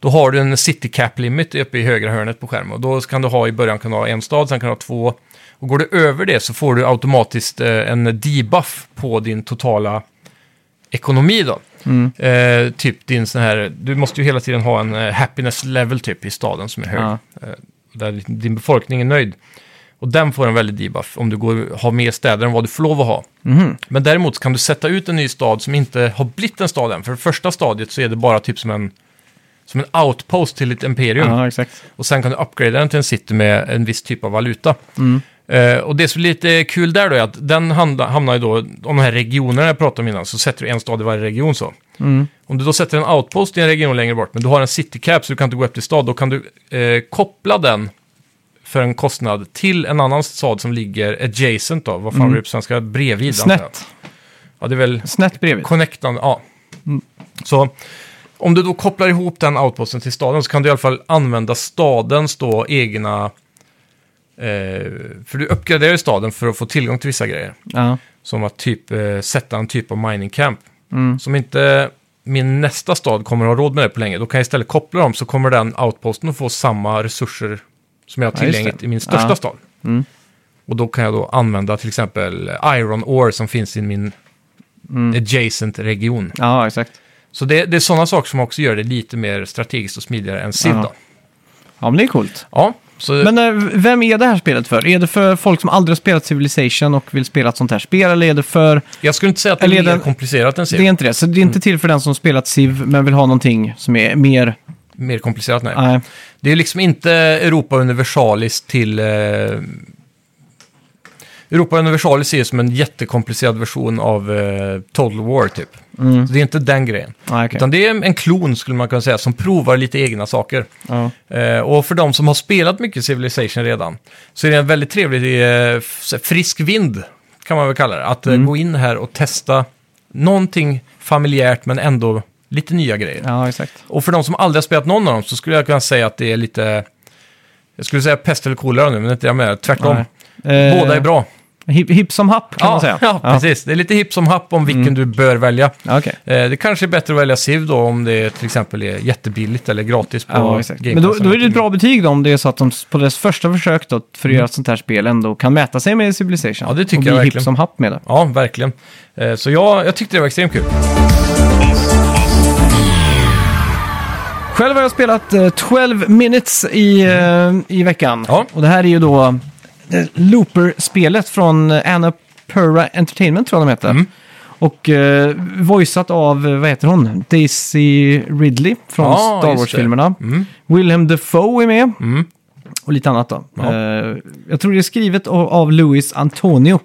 S2: då har du en city cap limit uppe i högra hörnet på skärmen. Och då kan du ha i början kan du ha en stad, sen kan du ha två. Och går du över det så får du automatiskt eh, en debuff på din totala ekonomi då.
S1: mm.
S2: Eh, typ din sån här, du måste ju hela tiden ha en eh, happiness level typ i staden som är hög.
S1: Ja.
S2: Eh, där din befolkning är nöjd. Och den får en väldig debuff om du går, har mer städer än vad du får lov att ha.
S1: Mhm.
S2: Men däremot så kan du sätta ut en ny stad som inte har blivit en stad än. För det första stadiet så är det bara typ som en, som en outpost till ett imperium.
S1: ja, exakt.
S2: Och sen kan du uppgradera den till en city med en viss typ av valuta. Eh, och det som är lite kul där då är att den handla, hamnar ju då, om de här regionerna jag pratade om innan, så sätter du en stad i varje region så. Om du då sätter en outpost i en region längre bort, men du har en city cap så du kan inte gå upp till stad, då kan du eh, koppla den för en kostnad till en annan stad som ligger adjacent då, vad fan blir det på svenska? Bredvid? antar jag.
S1: Snett,
S2: Ja, det är väl
S1: snett bredvid.
S2: connectande, ja. Så om du då kopplar ihop den outposten till staden så kan du i alla fall använda stadens då egna... Eh, för du uppgraderar ju staden för att få tillgång till vissa grejer.
S1: Ja.
S2: Som att typ eh, sätta en typ av mining camp.
S1: Mm.
S2: Som inte min nästa stad kommer att ha råd med det på länge. Då kan jag istället koppla dem så kommer den outposten att få samma resurser som jag har
S1: Ja, just
S2: tillgängligt
S1: det.
S2: i min största
S1: Ja. Mm.
S2: stad. Och då kan jag då använda till exempel iron ore som finns i min
S1: Mm.
S2: adjacent region.
S1: ja, exakt.
S2: Så det, det är sådana saker som också gör det lite mer strategiskt och smidigare än Civ
S1: Ja.
S2: då.
S1: Ja, men det är coolt.
S2: Ja, så
S1: Men eh, vem är det här spelet för? Är det för folk som aldrig har spelat Civilization och vill spela ett sånt här spel? Eller är det för...
S2: jag skulle inte säga att det är
S1: Eller är
S2: mer
S1: den-
S2: komplicerat än Civ. Mm.
S1: Det är inte det. Så det är inte till för den som spelat Civ men vill ha någonting som är mer...
S2: Mer komplicerat, nej.
S1: Nej.
S2: Det är liksom inte Europa Universalis till... Eh, Europa Universalis är som en jättekomplicerad version av eh, Total War typ. Så det är inte den grejen.
S1: Nej, okej.
S2: Utan det är en klon skulle man kunna säga som provar lite egna saker.
S1: Ja.
S2: Eh, och för de som har spelat mycket Civilization redan så är det en väldigt trevlig eh, f- frisk vind kan man väl kalla det. Att eh, gå in här och testa någonting familjärt men ändå lite nya grejer.
S1: ja, exakt.
S2: Och för de som aldrig har spelat någon av dem så skulle jag kunna säga att det är lite... Jag skulle säga pest eller kolera nu, men det är inte det jag menar. Tvärtom.
S1: Nej. Eh,
S2: Båda är bra.
S1: Hipp hip som happ kan
S2: ja,
S1: man säga. Mm.
S2: ja, precis. Det är lite hipp som happ om vilken du bör välja.
S1: Ja, okej.
S2: Eh, det kanske är bättre att välja Civ då om det till exempel är jättebilligt eller gratis på
S1: Ja, exakt.
S2: Game
S1: Men då,
S2: Pass
S1: då är
S2: eller
S1: det ett bra betyg då, om det är så att de på deras första försök då, för att göra ett sånt här spel ändå kan mäta sig med Civilization.
S2: Mm. Ja, det tycker
S1: och
S2: jag
S1: bli
S2: verkligen.
S1: hipp som happ med det.
S2: Ja, verkligen. Eh, Så jag, jag tyckte det var extremt kul.
S1: Själv har jag spelat eh, 12 minutes i, eh, i veckan.
S2: Ja.
S1: Och det här är ju då eh, Looper-spelet från eh, Annapurna Entertainment tror jag de heter.
S2: Mm.
S1: Och eh, voiceat av, eh, vad heter hon, Daisy Ridley från
S2: Ja,
S1: Star
S2: just
S1: Wars-filmerna.
S2: det. Mm.
S1: Willem Dafoe är med.
S2: Mm.
S1: Och lite annat då.
S2: Ja.
S1: Eh, jag tror det är skrivet av, av Louis Antonio.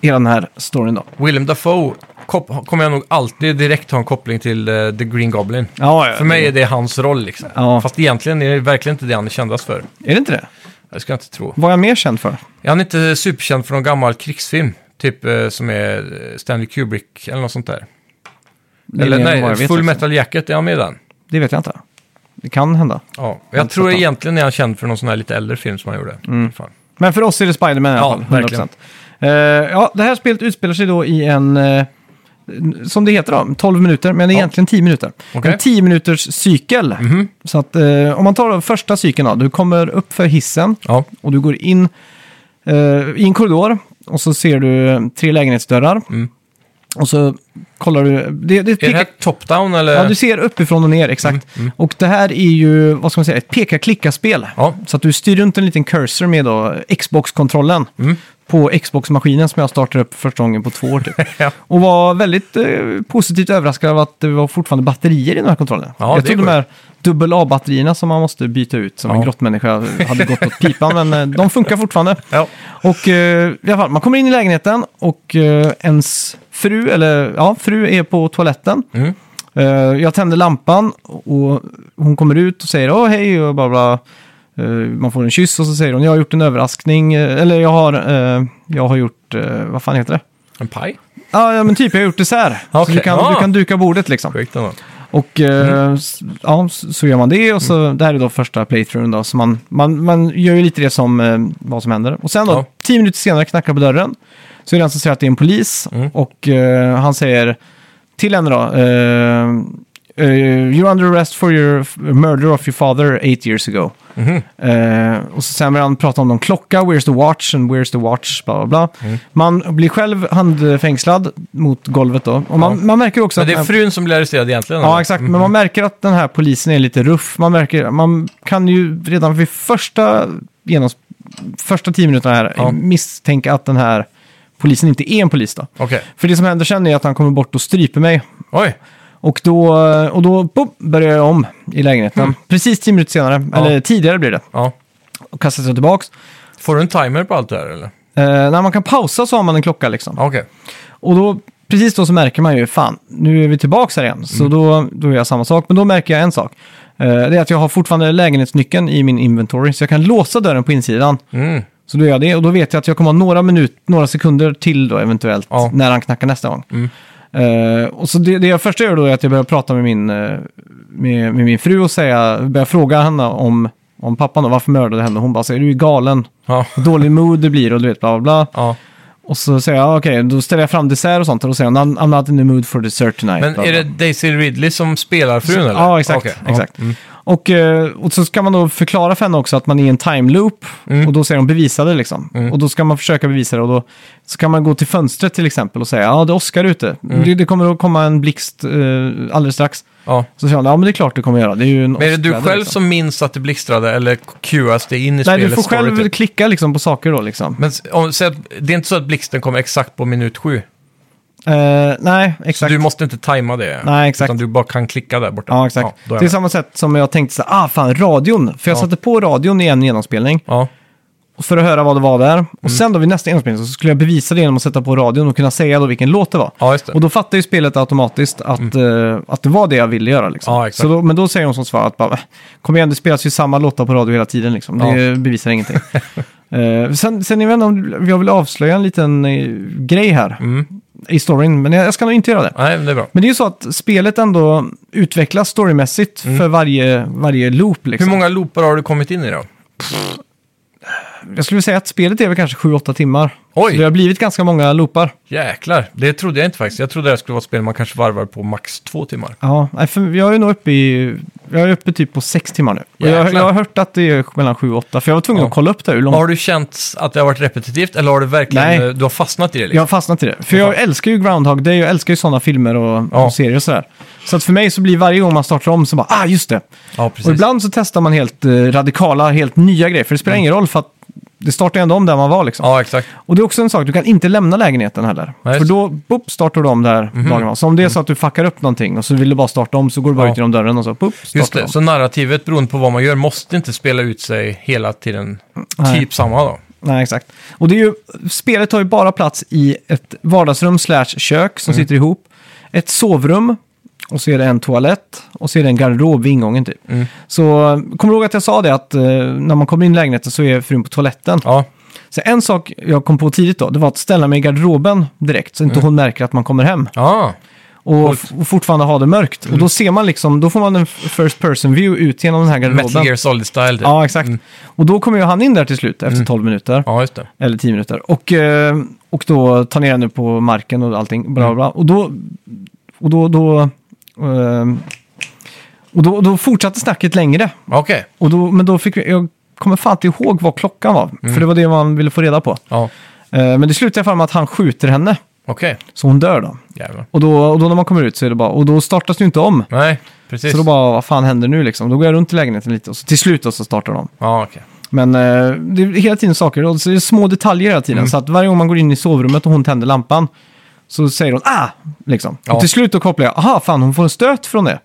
S1: Hela den här storyn då.
S2: Willem Dafoe kop- kommer jag nog alltid direkt ha en koppling till eh, The Green Goblin.
S1: Ja, ja,
S2: För mig är det hans roll liksom.
S1: Ja.
S2: Fast egentligen är det verkligen inte det han är kändast för.
S1: Är det inte det?
S2: Det ska jag inte tro.
S1: Vad är jag mer känd för?
S2: Är han inte superkänd för någon gammal krigsfilm? Typ eh, som är eh, Stanley Kubrick eller något sånt där.
S1: Det är
S2: eller
S1: mer än vad jag
S2: nej,
S1: vet
S2: Full
S1: också.
S2: Metal Jacket, är han med i den?
S1: Det vet jag inte. Det kan hända.
S2: Ja.
S1: har
S2: Jag
S1: inte
S2: tror
S1: sett den.
S2: egentligen är han känd för någon sån här lite äldre film som han gjorde.
S1: Mm.
S2: Fan.
S1: Men för oss är det Spiderman i alla
S2: Ja,
S1: fall. 100%.
S2: verkligen.
S1: Eh, ja, det här spelet utspelar sig då i en, eh, som det heter då, 12 minuter, men det är
S2: Ja.
S1: egentligen 10 minuter.
S2: Okej. Mhm.
S1: En 10 minuters cykel. Så att eh, om man tar då första cykeln då, du kommer upp för hissen
S2: Ja.
S1: och du går in eh, i en korridor. och så ser du tre lägenhetsdörrar. Och så kollar du... Det, det
S2: Mm. Är det
S1: pekar,
S2: här top-down eller? Mm,
S1: ja, du ser uppifrån och ner, exakt. Och det här är ju, vad ska man säga, ett peka-klicka-spel.
S2: Ja.
S1: Så att du styr runt en liten cursor med då Xbox-kontrollen
S2: Mm.
S1: på Xbox-maskinen som jag startade upp första gången på två år typ.
S2: Ja.
S1: Och var väldigt eh, positivt överraskad av att det var fortfarande batterier i den här kontrollen.
S2: Ja,
S1: jag
S2: det
S1: trodde de
S2: går.
S1: här dubbel A-batterierna som man måste byta ut som en
S2: Ja.
S1: grottmänniska hade gått åt pipan, men eh, de funkar fortfarande.
S2: Ja.
S1: Och eh, i alla fall, man kommer in i lägenheten och eh, ens fru, eller ja, fru är på toaletten.
S2: Mm.
S1: Eh, jag tänder lampan och hon kommer ut och säger åh hej och bla bla. Eh, man får en kyss och så säger hon jag har gjort en överraskning, eh, eller jag har, eh, jag har gjort, eh, vad fan heter det?
S2: En paj?
S1: Ja, ja men typ jag har gjort dessert. Så
S2: Okej,
S1: du kan,
S2: ah.
S1: du kan duka bordet liksom.
S2: Sjukt ändå.
S1: Och eh,
S2: Mm.
S1: s- ja, s- så gör man det och så det här är då första playthroughen då. Så man, man, man gör ju lite det som eh, vad som händer. Och sen då,
S2: Ja.
S1: tio minuter senare knackar på dörren. Så är det en som säger att det är en polis
S2: Mm.
S1: och eh, han säger till henne då. Eh, eh, you're under arrest for your f- murder of your father eight years ago.
S2: Mm-hmm.
S1: Eh, och så sen börjar han prata om någon klocka, where's the watch and where's the watch, bla bla bla.
S2: Mm.
S1: Man blir själv handfängslad mot golvet då. Och man,
S2: Ja.
S1: man märker också
S2: Men
S1: att
S2: det
S1: den
S2: är
S1: här-
S2: frun som blir arresterad egentligen?
S1: Ja,
S2: eller?
S1: exakt. Men man märker att den här polisen är lite ruff. Man, märker, man kan ju redan vid första, genoms, första tio minuterna här
S2: Ja.
S1: misstänka att den här polisen inte är en polis. Då.
S2: Okej.
S1: För det som händer sen är att han kommer bort och stryper mig.
S2: Oj.
S1: Och då, och då boop, börjar jag om i lägenheten. Precis tio minuter senare,
S2: Mm. Ja.
S1: eller tidigare blir det.
S2: Ja.
S1: Och kastar sig tillbaks.
S2: Får du en timer på allt det här eller?
S1: Eh, när man kan pausa så har man en klocka liksom.
S2: Ja, Okej.
S1: Och då, precis då så märker man ju, fan, nu är vi tillbaka här igen. Så
S2: Mm.
S1: då, då gör jag samma sak, men då märker jag en sak. Eh, det är att jag har fortfarande lägenhetsnyckeln i min inventory, så jag kan låsa dörren på insidan.
S2: Mm.
S1: Så då gör jag det, och då vet jag att jag kommer ha några minut, några sekunder till då eventuellt,
S2: Ja. Mm.
S1: när han knackar nästa gång. Eh, och så det, det jag först gör då är att jag börjar prata med min, eh, med, med min fru och säga, börjar fråga henne om, om pappan då, varför mördade henne? Hon bara säger, du är galen,
S2: Ja.
S1: dålig mood det blir och du vet bla bla bla.
S2: ja.
S1: Och så säger jag, "Ah, okej, då ställer jag fram dessert och sånt. Och då säger hon, I'm I'm not in the mood for dessert tonight.
S2: Men
S1: Bla,
S2: är
S1: bla.
S2: det Daisy Ridley som spelar frun eller?
S1: Ja, exakt.
S2: Okej, ja. Mm.
S1: exakt. Och, eh, och så ska man då förklara för henne också att man är i en time loop.
S2: Mm.
S1: Och då säger hon bevisa det liksom. Och då ska man försöka bevisa det. Och då så kan man gå till fönstret till exempel och säga, ja det är Oscar ute.
S2: Mm.
S1: Det, det kommer att komma en blixt eh, alldeles strax.
S2: Ja.
S1: Så säger hon, ja men det är klart du kommer göra. Det är ju en
S2: Men är det du
S1: åskväder,
S2: själv
S1: liksom.
S2: som minns att det blixtrade eller cuas det in i
S1: Nej,
S2: spelet?
S1: du får själv
S2: Typ?
S1: klicka liksom på saker då liksom.
S2: Men s- om, så att, det är inte så att blixten kommer exakt på minut sju?
S1: Eh, nej,
S2: Så
S1: exakt.
S2: du måste inte tajma det?
S1: Nej, exakt.
S2: Utan du bara kan klicka där borta?
S1: Ja, exakt.
S2: då är
S1: det är
S2: jag med.
S1: samma sätt som jag tänkte så här, ah fan, radion. För jag
S2: Ja.
S1: satte på radion i en genomspelning
S2: Ja.
S1: för att höra vad det var där.
S2: Mm.
S1: Och sen då vid nästa genomspelning så skulle jag bevisa det genom att sätta på radion och kunna säga då vilken låt det var.
S2: ja, just det. Mm.
S1: Och då fattar ju spelet automatiskt att, eh, att det var det jag ville göra. Liksom.
S2: Ja, exakt.
S1: så då, men då säger hon som svar att bara, "Äh, kom igen, det spelas ju samma låtar på radio hela tiden. Liksom. Det bevisar ingenting. Eh, sen, sen jag vet inte om jag vill avslöja en liten eh, grej här
S2: Mm.
S1: i storyn, men jag, jag ska nog inte göra det.
S2: Nej, men det är bra.
S1: Men det är ju så att spelet ändå utvecklas storymässigt för varje, varje loop.
S2: Mm. Hur
S1: Liksom.
S2: många loopar har du kommit in i då?
S1: Jag skulle säga att spelet är väl kanske 7-8 timmar.
S2: Oj.
S1: Så det har blivit ganska många loopar.
S2: Jäklar, det trodde jag inte faktiskt. Jag trodde det här skulle vara ett spel man kanske varvar på max två timmar.
S1: Ja, nej, för jag är nog uppe i... Jag är uppe typ på 6 timmar nu. Och jag,
S2: Jäklar.
S1: jag har hört att det är mellan 7 och 8, för jag var tvungen
S2: Ja.
S1: att kolla upp det hur långt...
S2: Har du känt att det har varit repetitivt eller har du verkligen
S1: Nej.
S2: eh, du har fastnat i det?
S1: Jag
S2: Liksom?
S1: har fastnat i det. För jag älskar ju Groundhog Day, jag älskar ju sådana filmer och,
S2: Ja.
S1: och serier och sådär. Så att för mig så blir varje gång man startar om så bara, ah just det.
S2: Ja,
S1: Och
S2: precis.
S1: ibland så testar man helt eh, radikala, helt nya grejer, för det
S2: Mm.
S1: spelar ingen roll för att det startar ändå om där man var liksom.
S2: Ja, exakt.
S1: Och det är också en sak, du kan inte lämna lägenheten heller.
S2: Nej,
S1: för
S2: just Mhm. det.
S1: då boop, startar du om där dagen var. Så om det är så att du fuckar upp någonting och så vill du bara starta om så går du bara
S2: Ja.
S1: ut genom dörren och så boop,
S2: Just
S1: startar du
S2: det,
S1: om.
S2: så narrativet beroende på vad man gör måste inte spela ut sig hela tiden.
S1: Nej.
S2: Typ samma då.
S1: Nej, exakt. Och det är ju, spelet tar ju bara plats i ett vardagsrum slash kök som
S2: Mm.
S1: sitter ihop. Ett sovrum och så är det en toalett och så är det en garderob vid ingången typ.
S2: Mm.
S1: Så kommer du ihåg att jag sa det att eh, när man kommer in i lägenheten så är frun på toaletten.
S2: Ja,
S1: Så en sak jag kom på tidigt då, det var att ställa mig i garderoben direkt så inte
S2: Mm.
S1: hon märker att man kommer hem.
S2: ja.
S1: och, f- och fortfarande ha det mörkt.
S2: Mm.
S1: Och då ser man liksom, då får man en f- first person view ut genom den här
S2: Metal
S1: garderoben.
S2: Gear Solid-style. typ. Mm.
S1: Ja, exakt. Och då kommer ju han in där till slut efter 12 minuter,
S2: ja, just det.
S1: eller 10 minuter. Och, eh, och då tar ner henne på marken och allting,
S2: Mm.
S1: bla bla, bla. Och då, och då, då, ehm, och då, då fortsatte snacket längre.
S2: Okej, Mm.
S1: Och då, men då fick vi, jag kommer fan inte ihåg vad klockan var, för det var det man ville få reda på.
S2: ja.
S1: Eh, Men det slutar i alla fall med att han skjuter henne,
S2: Okej,
S1: så hon dör då.
S2: jävlar.
S1: Och då, och då när man kommer ut så är det bara, och då startas det ju inte om.
S2: Nej, precis.
S1: Så då bara, vad fan händer nu liksom? Då går jag runt i lägenheten lite och så till slut då så startar de.
S2: Ja, okej.
S1: Men eh, det är hela tiden saker, och så är det små detaljer hela tiden. Så att varje gång man går in i sovrummet och hon tänder lampan så säger hon ah! Liksom.
S2: Ja.
S1: Och till slut då kopplar jag, aha fan hon får en stöt från det.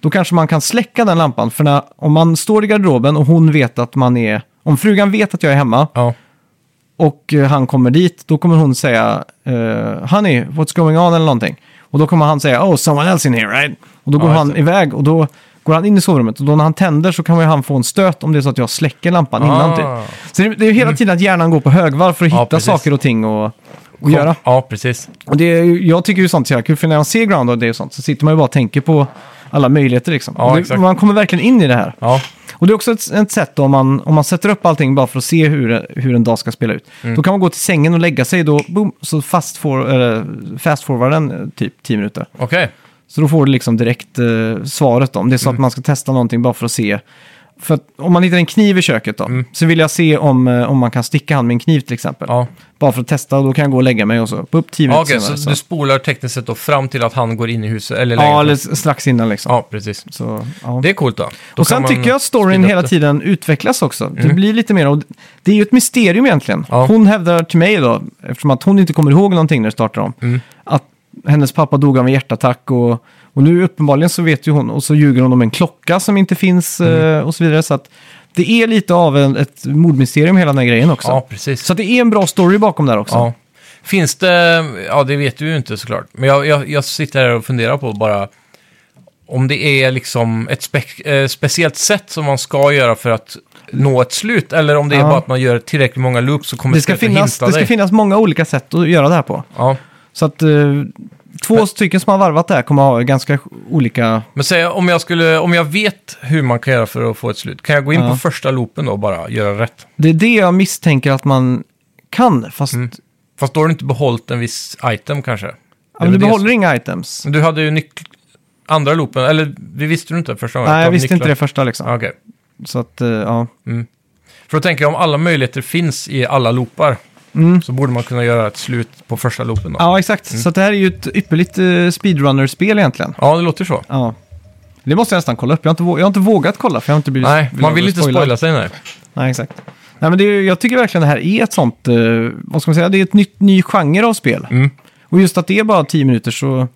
S1: Då kanske man kan släcka den lampan. För när, om man står i garderoben och hon vet att man är, om frugan vet att jag är hemma
S2: Ja.
S1: och eh, han kommer dit, då kommer hon säga eh, Honey, what's going on eller någonting. Och då kommer han säga Oh, someone else in here, right? Och då går
S2: Ja, just
S1: han
S2: det.
S1: iväg och då går han in i sovrummet. Och då när han tänder så kan ju han få en stöt om det är så att jag släcker lampan
S2: Ah. Mm.
S1: innan. Typ. Så det, det är ju hela tiden att hjärnan går på högvarv för att
S2: Ja,
S1: hitta
S2: precis.
S1: saker och ting och, och göra.
S2: Ja, precis.
S1: Och det är, ju- jag tycker ju sånt är så jävla kul, för när man ser Ground och det och sånt så sitter man ju bara och tänker på alla möjligheter liksom.
S2: Ja,
S1: Och det,
S2: exakt.
S1: man kommer verkligen in i det här.
S2: Ja,
S1: Och det är också ett, ett sätt om man, om man sätter upp allting bara för att se hur, hur en dag ska spela ut.
S2: Mm.
S1: Då kan man gå till sängen och lägga sig då, boom, så fast, for, eller fast forward den eh, typ 10 minuter.
S2: okej.
S1: Så då får du liksom direkt eh, svaret då, om det är så
S2: Mm.
S1: att man ska testa någonting bara för att se. För att om man hittar en kniv i köket då, så vill jag se om, eh, om man kan sticka han med en kniv till exempel.
S2: Mm. Ja.
S1: Bara för att testa, och då kan jag gå och lägga mig och så, upp 10
S2: Ja,
S1: minuter
S2: okej,
S1: senare.
S2: så du spolar tekniskt sett då fram till att han går in i huset, eller
S1: ja,
S2: lägenheten.
S1: eller s- strax innan liksom.
S2: Ja, precis.
S1: Så, ja.
S2: Det är coolt då. då
S1: och sen
S2: kan man
S1: tycker jag att storyn
S2: speeda upp
S1: hela
S2: det. Mm.
S1: tiden utvecklas också. Det blir lite mer, och det är ju ett mysterium egentligen.
S2: Ja.
S1: Hon hävdar till mig då, eftersom att hon inte kommer ihåg någonting när det startar om,
S2: Mm.
S1: att hennes pappa dog av en hjärtattack och, och nu uppenbarligen så vet ju hon, och så ljuger hon om en klocka som inte finns
S2: Mm.
S1: eh, och så vidare. Så att det är lite av en, ett mordmysterium hela den här grejen också.
S2: Ja, precis.
S1: Så att det är en bra story bakom där också.
S2: Ja. Finns det, ja det vet du ju inte såklart, men jag, jag, jag sitter här och funderar på bara om det är liksom ett spek- eh, speciellt sätt som man ska göra för att nå ett slut, eller om det är
S1: Ja.
S2: bara att man gör tillräckligt många loops så kommer
S1: Det, ska
S2: slutet
S1: finnas,
S2: hinta
S1: det ska
S2: dig.
S1: finnas många olika sätt att göra det här på.
S2: Ja.
S1: Så att eh, två stycken som har varvat det här kommer ha ganska olika
S2: Men säg om jag, skulle, om jag vet hur man kan göra för att få ett slut, kan jag gå in
S1: Ja.
S2: på första loopen då och bara göra rätt?
S1: Det är det jag misstänker att man kan, fast
S2: Mm. Fast då har du inte behållit en viss item kanske?
S1: ja,
S2: Det är
S1: men
S2: Mm.
S1: du
S2: väl det
S1: behåller inga items.
S2: som- Du hade ju nyc- andra loopen, eller det visste du inte första gången?
S1: Nej,
S2: att
S1: jag
S2: de
S1: visste inte
S2: nycklar-
S1: det första liksom.
S2: Ah, Okej.
S1: Så att, eh,
S2: Mm.
S1: ja.
S2: För då tänker jag om alla möjligheter finns i alla loopar
S1: Mm.
S2: så borde man kunna göra ett slut på första loopen då. Ja,
S1: ja, exakt. Så att det här är ju ett ypperligt eh, speedrunner-spel egentligen.
S2: det låter så.
S1: Ja. Det måste jag nästan kolla upp. Jag har inte, vå- jag har inte vågat kolla, för jag har inte blivit
S2: Nej, man
S1: blivit
S2: vill inte
S1: spoilad.
S2: spoila sig nej.
S1: Nej, exakt. Nej, men det är, ju- jag tycker verkligen det här är ett sånt, eh, vad ska man säga, det är ett nytt, ny genre av spel.
S2: Mm.
S1: Och just att det är bara tio minuter så,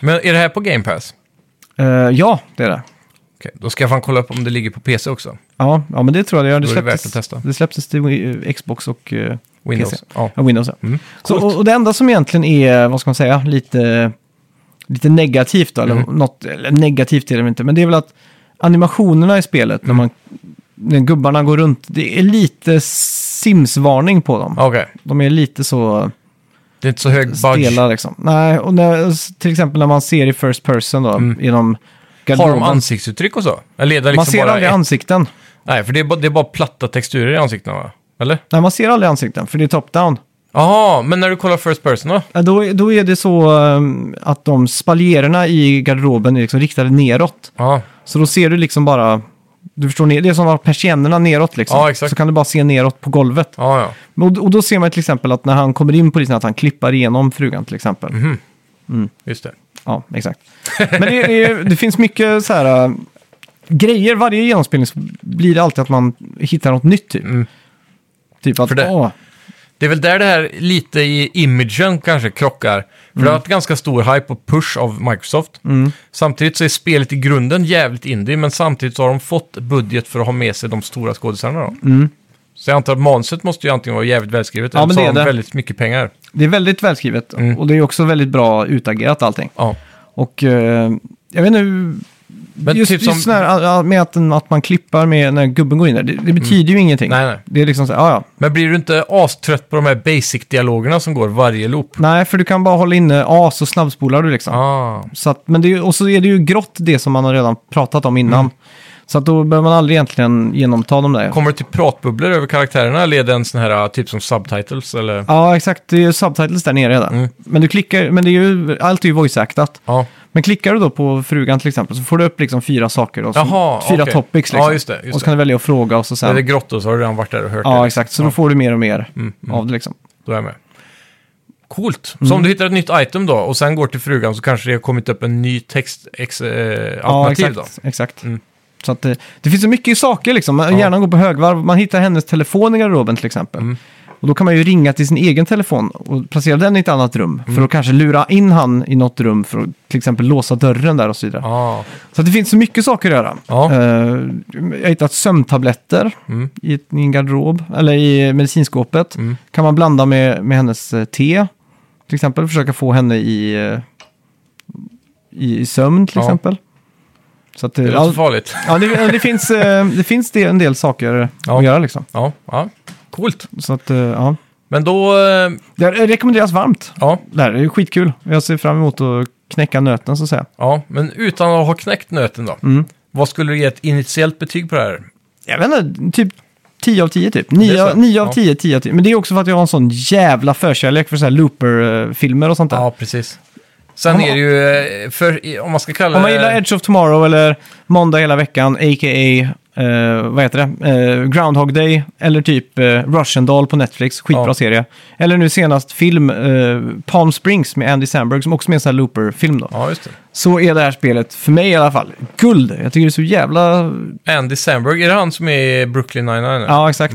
S2: Men är det här på Game Pass?
S1: eh, ja, det är det.
S2: Okej, då ska jag fan kolla upp om det ligger på PC också.
S1: Ja, ja, men det tror jag det gör. Det
S2: Då är det värt
S1: släpptes,
S2: att testa.
S1: det släpptes till eh, Xbox och eh,
S2: Windows.
S1: PC.
S2: Ja. Mm.
S1: Ja, Windows ja.
S2: Coolt.
S1: Så, och, och det enda som egentligen är, vad ska man säga, lite, lite negativt då, eller
S2: Mm.
S1: något, eller negativt är det väl inte, men det är väl att animationerna i spelet,
S2: Mm.
S1: när, man, när gubbarna går runt, det är lite Sims-varning på dem.
S2: Okej,
S1: De är lite så
S2: det är inte så hög budge.
S1: stela liksom. Nej, och när, till exempel när man ser i first person då, genom
S2: Mm. Har
S1: garderoben.
S2: de ansiktsuttryck och så? Eller är det liksom
S1: man ser
S2: bara
S1: aldrig
S2: ett-
S1: ansikten.
S2: Nej, för det är, bara, det är bara platta texturer i ansiktena va? Eller?
S1: Nej, man ser aldrig ansikten, för det är top-down.
S2: Jaha, men när du kollar first person då?
S1: Ja, Då, då är det så ehm, att de spaljerna i garderoben är liksom riktade neråt.
S2: Ja,
S1: Så då ser du liksom bara, du förstår, ner- det är som att persiennerna neråt liksom.
S2: Ja, exakt.
S1: Så kan du bara se neråt på golvet.
S2: ja, ja.
S1: Och, och då ser man till exempel att när han kommer in på polisen att han klippar igenom frugan till exempel.
S2: Mhm. just det.
S1: Ja, exakt. Men det, det, är- det finns mycket så här äh, grejer. Varje genomspelning så blir det alltid att man hittar något nytt typ. Typ att,
S2: Mm. För det-
S1: åh,
S2: Det är väl där det här lite i imagen kanske krockar. För det
S1: Mm.
S2: har varit ganska stor hype och push av Microsoft. Samtidigt så är spelet i grunden jävligt indie, men samtidigt så har de fått budget för att ha med sig de stora skådisarna då. Så jag antar att manuset måste ju antingen vara jävligt välskrivet
S1: Mm. Ja,
S2: eller
S1: men
S2: så
S1: det
S2: har
S1: är
S2: de
S1: det.
S2: väldigt mycket pengar.
S1: det är väldigt välskrivet.
S2: Mm.
S1: Och det är också väldigt bra utagerat allting.
S2: Ja.
S1: Och eh, jag vet inte, hur-
S2: Men
S1: just,
S2: typ som...
S1: just när, ja, med att, den- att man klippar med när gubben går in där, det, det betyder ju ingenting.
S2: Mm. Nej, nej.
S1: Det är liksom så här, ja, ja.
S2: Men blir du inte astrött på de här basic-dialogerna som går varje loop?
S1: Nej, för du kan bara hålla inne A så snabbspolar du liksom.
S2: Ah.
S1: Så att, men det är, ju- och så är det ju grått det som man har redan pratat om
S2: Mm.
S1: innan. Så att då behöver man aldrig egentligen genomta de där.
S2: Kommer det till pratbubblor över karaktärerna eller är det en sån här typ som subtitles eller?
S1: Ja, exakt. Det är ju subtitles där nere redan.
S2: Mm.
S1: Men, du klickar, men det är ju, allt är ju voice-actat.
S2: Ja.
S1: Men klickar du då på frugan till exempel så får du upp liksom fyra saker. Då, som-
S2: Jaha,
S1: fyra
S2: okej.
S1: topics liksom.
S2: Ja, just det, just
S1: och så kan du välja att fråga och så sen.
S2: Är det grått och så har du redan varit där och hört
S1: Ja,
S2: det. Mm,
S1: exakt. Så då får du mer och mer av det liksom.
S2: Då är jag med. Coolt. Så
S1: Mm.
S2: om du hittar ett nytt item då och sen går till frugan så kanske det har kommit upp en ny text ex, eh, alternativ då. Mm.
S1: exakt. exakt. Så att det, det finns så mycket saker liksom. Man- Hjärnan går på högvarv. Man hittar hennes telefon i garderoben till exempel.
S2: Mm.
S1: Och då kan man ju ringa till sin egen telefon och placera den i ett annat rum. För
S2: Mm.
S1: att kanske lura in han i något rum för att till exempel låsa dörren där och så vidare.
S2: Ja,
S1: Så att det finns så mycket saker att göra.
S2: Ja. Mm.
S1: Eh, jag har hittat sömntabletter i, ett, i en garderob, eller i medicinskåpet. Kan man blanda med, med hennes eh, te, till exempel. Försöka få henne i, eh, i, i sömn, till
S2: Ja.
S1: exempel. Så att, eh,
S2: det låter
S1: ja,
S2: farligt.
S1: ja, det, det finns, eh, det finns det, en del saker
S2: Ja.
S1: att göra liksom.
S2: Ja, ja, coolt.
S1: Så att, eh, ja.
S2: Men då, eh,
S1: Det här rekommenderas varmt.
S2: ja,
S1: Det här är ju skitkul. Jag ser fram emot att knäcka nöten, så att säga.
S2: ja, men utan att ha knäckt nöten då.
S1: Mm.
S2: Vad skulle du ge ett initiellt betyg på det här?
S1: Jag vet inte, typ 10 av 10 typ.
S2: Det
S1: 9,
S2: är så?
S1: av
S2: Ja.
S1: 10, 10 av 10. Men det är också för att jag har en sån jävla förkärlek för så här looper-filmer och sånt där.
S2: Ja, precis. Sen
S1: Ja.
S2: är det ju, eh, för, i- om man ska kalla
S1: Om man
S2: det-
S1: gillar Edge of Tomorrow eller Måndag hela veckan, a.k.a. eh, vad heter det? Eh, Groundhog Day eller typ eh, Russian Doll på Netflix, skitbra
S2: Ja.
S1: serie. Eller nu senast film eh, Palm Springs med Andy Samberg som också är en sån här looper-film då.
S2: Ja, just
S1: Så är det här spelet, för mig i alla fall, guld. Jag tycker det är så jävla...
S2: det. Andy Samberg, är det han som är i Brooklyn 99?
S1: Ja, exakt.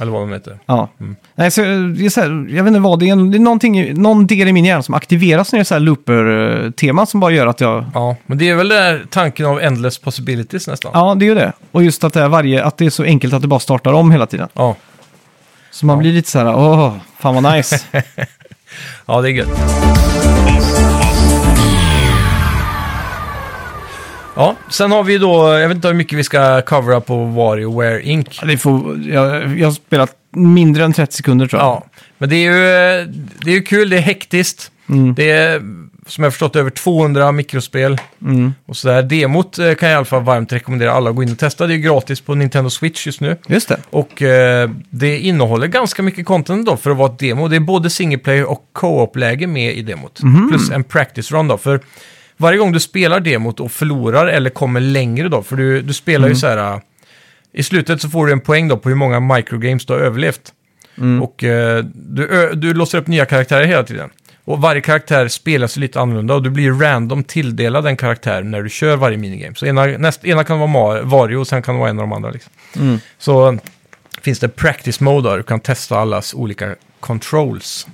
S2: Eller vad de heter.
S1: Ja. Nej, så, det är så här, jag vet inte vad, det är, en, det är någonting, i- någon del i min hjärna som aktiveras när det är så här looper-tema som bara gör att jag...
S2: Ja, men det är väl där tanken av endless possibilities nästan.
S1: Ja, det är ju det. Och just att det är, varje, att det är så enkelt att det bara startar om hela tiden.
S2: Ja,
S1: Så man blir lite så här, åh, fan vad nice.
S2: ja det är gött. Ja, sen har vi ju då, jag vet inte hur mycket vi ska covera på WarioWare Inc.
S1: Ja, det får, jag, jag har spelat mindre än 30 sekunder tror jag.
S2: Ja, men det är ju, eh, det är ju kul, det är hektiskt. Det är, som jag förstått, över 200 mikrospel.
S1: Mm.
S2: Och sådär. Demot eh, kan jag i alla fall varmt rekommendera alla att gå in och testa. Det är ju gratis på Nintendo Switch just nu.
S1: Just det.
S2: Och eh, det innehåller ganska mycket content då för att vara ett demo. Det är både single player och co-op-läge med i demot. Plus en practice run då. För varje gång du spelar demot och förlorar eller kommer längre då, för du, du spelar ju så här... eh, I slutet så får du en poäng då på hur många microgames du har överlevt. Och eh, du, ö- du låser upp nya karaktärer hela tiden. Och varje karaktär spelas ju lite annorlunda och du blir ju random tilldelad en karaktär när du kör varje minigame. Så ena, näst, ena kan vara Ma- Vario och sen kan det vara en av de andra. Liksom. Så finns det practice mode där du kan testa allas olika controls.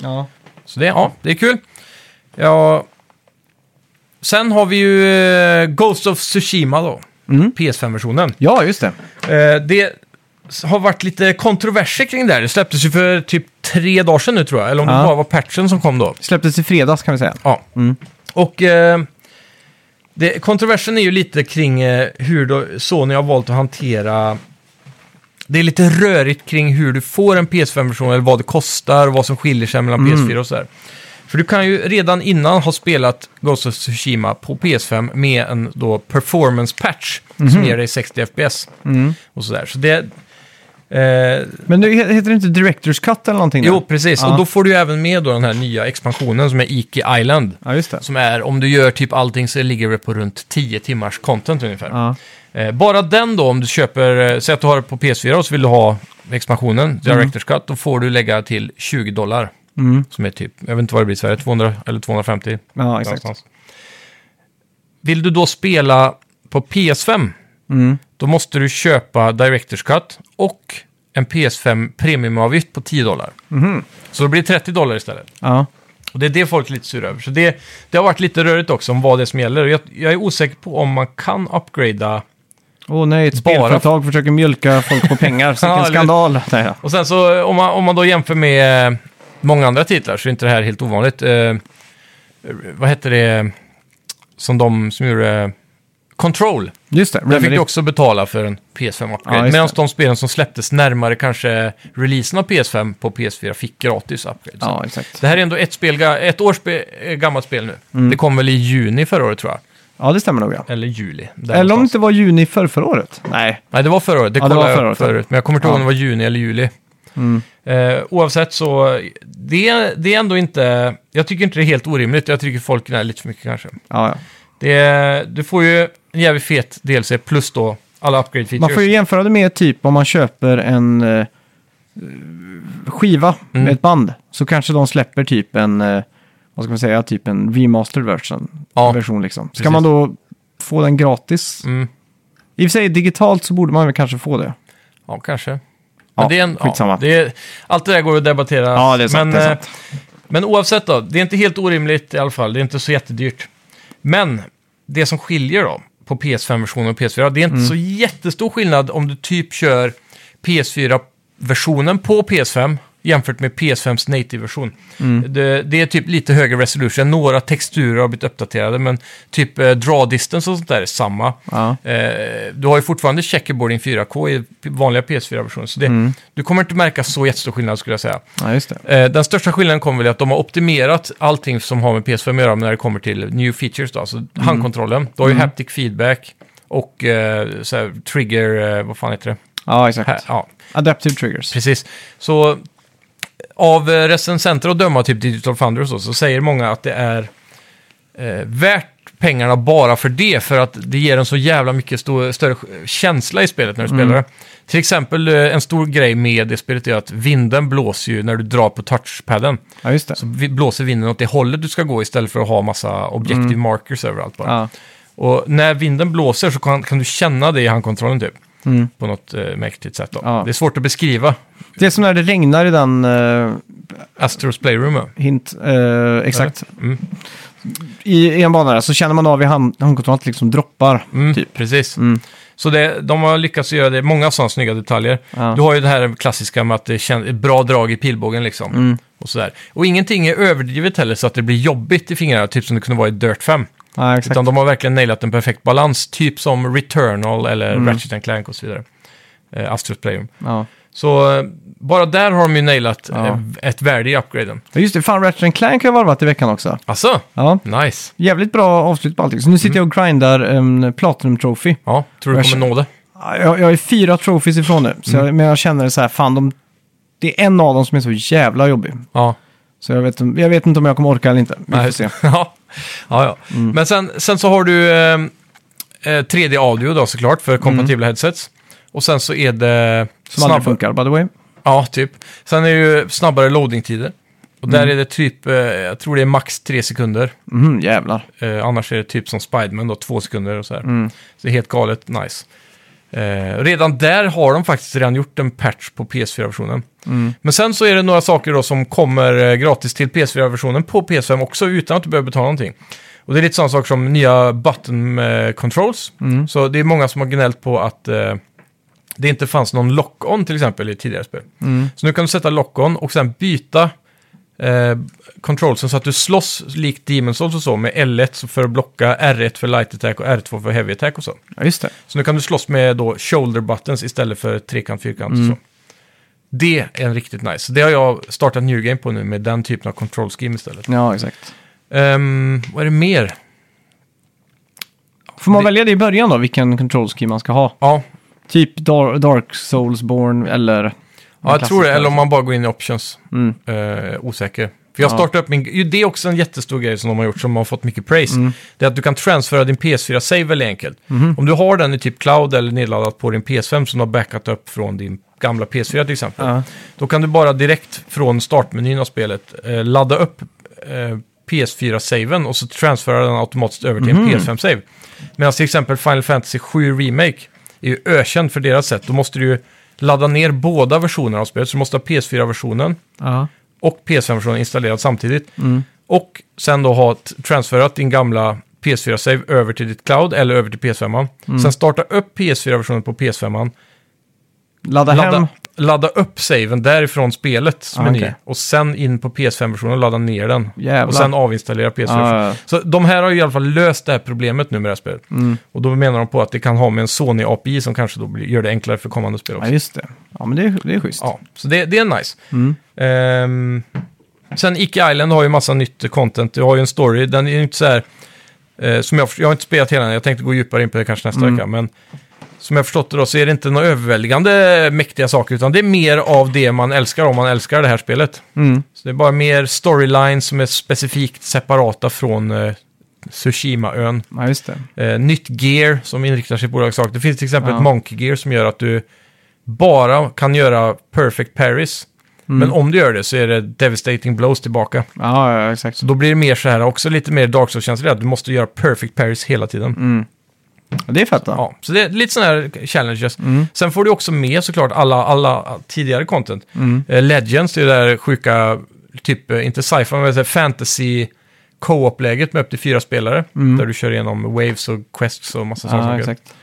S1: Ja.
S2: Så det, ja, det är kul. Ja. Sen har vi ju eh, Ghost of Tsushima då. PS5-versionen.
S1: ja, just det.
S2: Eh, det har varit lite kontroverser kring det här. Det släpptes ju för typ tre dagar sedan nu tror jag. Eller om
S1: Ja.
S2: det bara var patchen som kom då.
S1: Släpptes i fredags kan vi säga.
S2: Ja. Och eh, det, kontroversen är ju lite kring eh, hur då Sony har valt att hantera... Det är lite rörigt kring hur du får en PS5-version, eller vad det kostar och vad som skiljer sig mellan PS4 och sådär. För du kan ju redan innan ha spelat Ghost of Tsushima på PS5 med en då performance patch som ger dig 60 FPS. Och sådär. Så det... Eh,
S1: Men nu he- heter det inte Directors Cut eller någonting? där?
S2: jo, precis.
S1: Ja.
S2: Och då får du ju även med då den här nya expansionen som är Iki Island.
S1: Ja, just det.
S2: Som är, om du gör typ allting så ligger det på runt 10 timmars content ungefär.
S1: Ja.
S2: Eh, bara den då, om du köper, eh, säg att du har det på PS4 och så vill du ha expansionen, Directors Cut, då får du lägga till 20 dollar.
S1: Mm.
S2: Som är typ, jag vet inte vad det blir i Sverige, 200 eller 250.
S1: ja, exakt.
S2: någonstans. Vill du då spela på PS5,
S1: Mm.
S2: då måste du köpa Directors Cut och en PS5 premiumavgift på 10 dollar.
S1: Mhm.
S2: Så då blir det 30 dollar istället.
S1: Ja.
S2: Och det är det folk är lite sura över. Så det, det har varit lite rörigt också om vad det är som gäller. Och Jag, jag är osäker på om man kan upgrada.
S1: Åh nej, ett
S2: Bara-
S1: spelföretag försöker mjölka folk på pengar. Så
S2: Ja,
S1: Vilken
S2: eller-
S1: skandal. Nej, ja.
S2: Och sen så om man, om man då jämför med många andra titlar så är inte det här helt ovanligt. Eh, vad hette det som de som gjorde eh, Control?
S1: Just det,
S2: Där fick
S1: Remedy.
S2: du också betala för en PS5-upgrade.
S1: Ja, just
S2: Medan
S1: det.
S2: de spelen som släpptes närmare kanske releasen av PS5 på PS4 fick gratis upgrade.
S1: Ja, exakt.
S2: Det här är ändå ett, spel, ga- ett års spe, eh, gammalt spel nu.
S1: Mm.
S2: Det kom väl i juni förra året tror jag.
S1: Ja, det stämmer nog ja.
S2: Eller juli. där
S1: Eller om det
S2: någonstans.
S1: inte var juni för förra året. Nej.
S2: Nej, det var förra året. Det
S1: Ja, det
S2: kollade
S1: var
S2: jag
S1: förra
S2: upp
S1: året,
S2: förut. Men jag kommer inte ihåg om
S1: Ja. Mm.
S2: det var juni eller juli. Eh, oavsett så, det, är- det är ändå inte... Jag tycker inte det är helt orimligt. Jag tycker folk är lite för mycket kanske.
S1: Ja, ja.
S2: Det, är- du får ju en jävligt fet DLC plus då alla upgrade features.
S1: Man får ju jämföra det med typ om man köper en eh, eh, skiva med ett band så kanske de släpper typ en, eh, vad ska man säga, typ en remastered version.
S2: Ja.
S1: version liksom. Ska
S2: Precis.
S1: man då få den gratis?
S2: Mm.
S1: I och för sig digitalt så borde man väl kanske få det.
S2: Ja, kanske. Men
S1: Ja,
S2: det är en,
S1: skitsamma.
S2: Ja, det är, allt det där går att debattera.
S1: Ja, det är sant,
S2: men,
S1: det är
S2: eh, men oavsett då, det är inte helt orimligt i alla fall. Det är inte så jättedyrt. Men det som skiljer då på PS5-versionen och PS4, det är inte så jättestor skillnad om du typ kör PS4-versionen på PS5 jämfört med PS5s native-version. Det, det är typ lite högre resolution, några texturer har blivit uppdaterade, men typ eh, draw distance och sånt där är samma.
S1: Ja.
S2: Eh, du har ju fortfarande checkerboard in 4K i p- vanliga PS4-versionen, så det, du kommer inte märka så jättestor skillnad skulle jag säga.
S1: Ja, just det.
S2: Eh, den största skillnaden kommer väl i att de har optimerat allting som har med PS5 att göra när det kommer till new features, då, alltså handkontrollen. Du har ju haptic feedback och eh, så här, trigger, eh, vad fan heter det?
S1: Ja,
S2: Här,
S1: exakt.
S2: ja,
S1: Adaptive triggers.
S2: precis. Så av eh, recensenter att döma, typ Digital Foundry och så, så säger många att det är eh, värt pengarna bara för det, för att det ger en så jävla mycket stor, större känsla i spelet när du spelar det. Till exempel, eh, en stor grej med det spelet är att vinden blåser ju när du drar på touchpadden.
S1: Ja, just det.
S2: Så vi- blåser vinden åt det hållet du ska gå istället för att ha massa objective markers överallt bara.
S1: Mm. Ja.
S2: Och när vinden blåser så kan, kan du känna det i handkontrollen typ.
S1: Mm.
S2: På något eh, mäktigt sätt då.
S1: Ja.
S2: Det är svårt att beskriva
S1: Det är som när det regnar i den eh,
S2: Astros Playroom. ja.
S1: hint. eh, exakt.
S2: Mm.
S1: I, I en bana där så känner man av i hand, handkontrollen att det liksom droppar.
S2: Mm,
S1: Typ.
S2: Precis.
S1: Mm.
S2: Så det, de har lyckats göra det, många sådana snygga detaljer.
S1: Ja.
S2: Du har ju det här klassiska med att det känns ett bra drag i pilbågen liksom.
S1: Mm.
S2: Och, sådär. och ingenting är överdrivet heller så att det blir jobbigt i fingrarna, typ som det kunde vara i Dirt 5.
S1: Ja, exakt.
S2: Utan de har verkligen nailat en perfekt balans, typ som Returnal eller
S1: Mm.
S2: Ratchet and Clank och så vidare. Eh, Astros Playroom.
S1: Ja.
S2: Så eh, bara där har de ju nailat
S1: Ja.
S2: eh, ett värde i upgraden.
S1: Ja, Just det, fan Ratchet Clank har jag varvat i veckan också.
S2: Alltså,
S1: Ja,
S2: nice.
S1: jävligt bra avslut på allting. Så nu sitter jag och
S2: Mm.
S1: grindar en Platinum Trophy.
S2: Ja, tror du
S1: Jag
S2: kommer nå det?
S1: Ja, Jag, jag är fyra trophies ifrån nu, så
S2: Mm.
S1: jag, men jag känner så här, fan de, det är en av dem som är så jävla jobbig.
S2: Ja.
S1: Så jag vet, jag vet inte om jag kommer orka eller inte. Vi får
S2: Nej.
S1: se.
S2: ja, ja. ja.
S1: Mm.
S2: Men sen, sen så har du eh, eh, 3D-audio då såklart för kompatibla headsets. Och sen så är det...
S1: Mm. Som aldrig funkar, by the way.
S2: Ja, typ. Sen är det ju snabbare loadingtider. Och
S1: Mm.
S2: där är det typ, eh, jag tror det är max tre sekunder.
S1: Mhm, jävlar.
S2: Eh, annars är det typ som Spiderman då, två sekunder och så här. Så det är helt galet nice. Eh, redan där har de faktiskt redan gjort en patch på PS4-versionen. Men sen så är det några saker då som kommer eh, gratis till PS4-versionen på PS5 också utan att du behöver betala någonting. Och det är lite sådana saker som nya button eh, controls.
S1: Mm.
S2: Så det är många som har gnällt på att eh, det inte fanns någon lock-on till exempel i tidigare spel. Så nu kan du sätta lock-on och sen byta eh, controlsen så att du slåss likt Demon's Souls och så med L1 för att blocka, R1 för light attack och R2 för heavy attack och så.
S1: Ja, just det.
S2: Så nu kan du slåss med då shoulder buttons istället för trekant, fyrkant och så. Det är en riktigt nice. Så Det har jag startat New Game på nu med den typen av control scheme istället.
S1: Ja, exakt.
S2: Ehm, vad är det mer?
S1: Får man
S2: Det-
S1: välja det i början då, vilken control scheme man ska ha?
S2: Ja,
S1: Typ Dar- Dark Souls-born eller...
S2: ja jag tror det. Eller om man bara går in i options.
S1: Mm.
S2: Eh, osäker. För jag
S1: Ja.
S2: startade upp min... ju, Det är också en jättestor grej som de har gjort som har fått mycket praise.
S1: Mm.
S2: Det är att du kan transfera din PS4-save väldigt enkelt.
S1: Mm-hmm.
S2: Om du har den i typ cloud eller nedladdat på din PS5 som du har backat upp från din gamla PS4 till exempel.
S1: Ja.
S2: Då kan du bara direkt från startmenyn av spelet eh, ladda upp eh, PS4-saven och så transfera den automatiskt över till
S1: Mm-hmm.
S2: en PS5-save. Medan till exempel Final Fantasy 7 Remake är ju ökänd för deras sätt. Då måste du ju ladda ner båda versionerna av spelet. Så du måste ha PS4-versionen
S1: Ja.
S2: och PS5-versionen installerad samtidigt.
S1: Mm.
S2: Och sen då ha t- transferat din gamla PS4-save över till ditt cloud eller över till
S1: Mm.
S2: PS5. Sen starta upp PS4-versionen på PS5.
S1: Ladda, hem.
S2: Ladda, ladda upp saven därifrån spelet som
S1: Ah,
S2: är ny.
S1: okej.
S2: Och sen in på PS5-versionen och ladda ner den.
S1: Jävlar. Ah.
S2: Och sen avinstallera PS4-versionen.
S1: Ja, ja, ja.
S2: Så de här har ju i alla fall löst det här problemet nu med det här spelet.
S1: Mm.
S2: Och då menar de på att det kan ha med en Sony API som kanske då blir, gör det enklare för kommande spel också.
S1: Ja, just det. Ja, men det är, det är schysst.
S2: Ja, så det, det är nice. Ehm, sen Ike Island har ju massa nytt content. Du har ju en story, den är ju inte så här... eh, som jag, jag har inte spelat hela den, jag tänkte gå djupare in på det kanske nästa vecka. Men som jag förstått det då så är det inte några överväldigande mäktiga saker. Utan det är mer av det man älskar om man älskar det här spelet.
S1: Mm.
S2: Så det är bara mer storylines som är specifikt separata från eh, Tsushima-ön.
S1: ja, just det.
S2: Eh, nytt gear som inriktar sig på olika saker. Det finns till exempel
S1: Ja.
S2: ett monkey gear som gör att du bara kan göra perfect parries.
S1: Mm.
S2: Men om du gör det så är det devastating blows tillbaka.
S1: Ja, ja, exakt.
S2: Så då blir det mer så här, också lite mer Dark Souls-känsla, att du måste göra perfect parries hela tiden.
S1: Mm. Det är fett då.
S2: Ja, så det är lite sådana här challenges.
S1: Mm.
S2: Sen får du också med såklart alla, alla tidigare content.
S1: Mm.
S2: Eh, Legends, det är det där sjuka, typ, eh, inte sci-fi, men så här fantasy
S1: Mm.
S2: co-op-läget med upp till fyra spelare. Där du kör igenom waves och quests och massa sådana
S1: Ja,
S2: saker.
S1: exakt.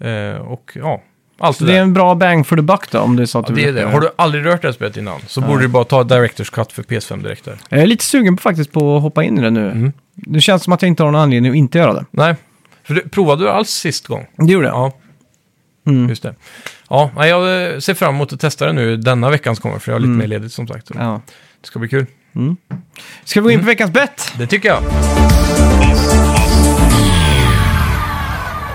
S2: Eh, och ja, allt
S1: Så
S2: det
S1: det är
S2: där.
S1: en bra bang for the buck då, om det är så att
S2: Ja,
S1: du
S2: det är
S1: vill
S2: det.
S1: uppleva
S2: Har du aldrig rört det här spelet innan så borde du bara ta Directors Cut för PS5 direkt där.
S1: Jag är lite sugen på, faktiskt på att hoppa in i det nu.
S2: Mm.
S1: Det känns som att jag inte har någon anledning att inte göra det.
S2: Nej, för du, provade du alls sist gång? Mm.
S1: Det gjorde jag.
S2: Ja, just det. Ja, nej, jag eh, ser fram emot att testa det nu denna veckan som kommer, för jag har lite mer ledigt som sagt. Så
S1: Ja.
S2: Det ska bli kul.
S1: Ska vi gå in
S2: Mm.
S1: på veckans bett?
S2: Det tycker jag.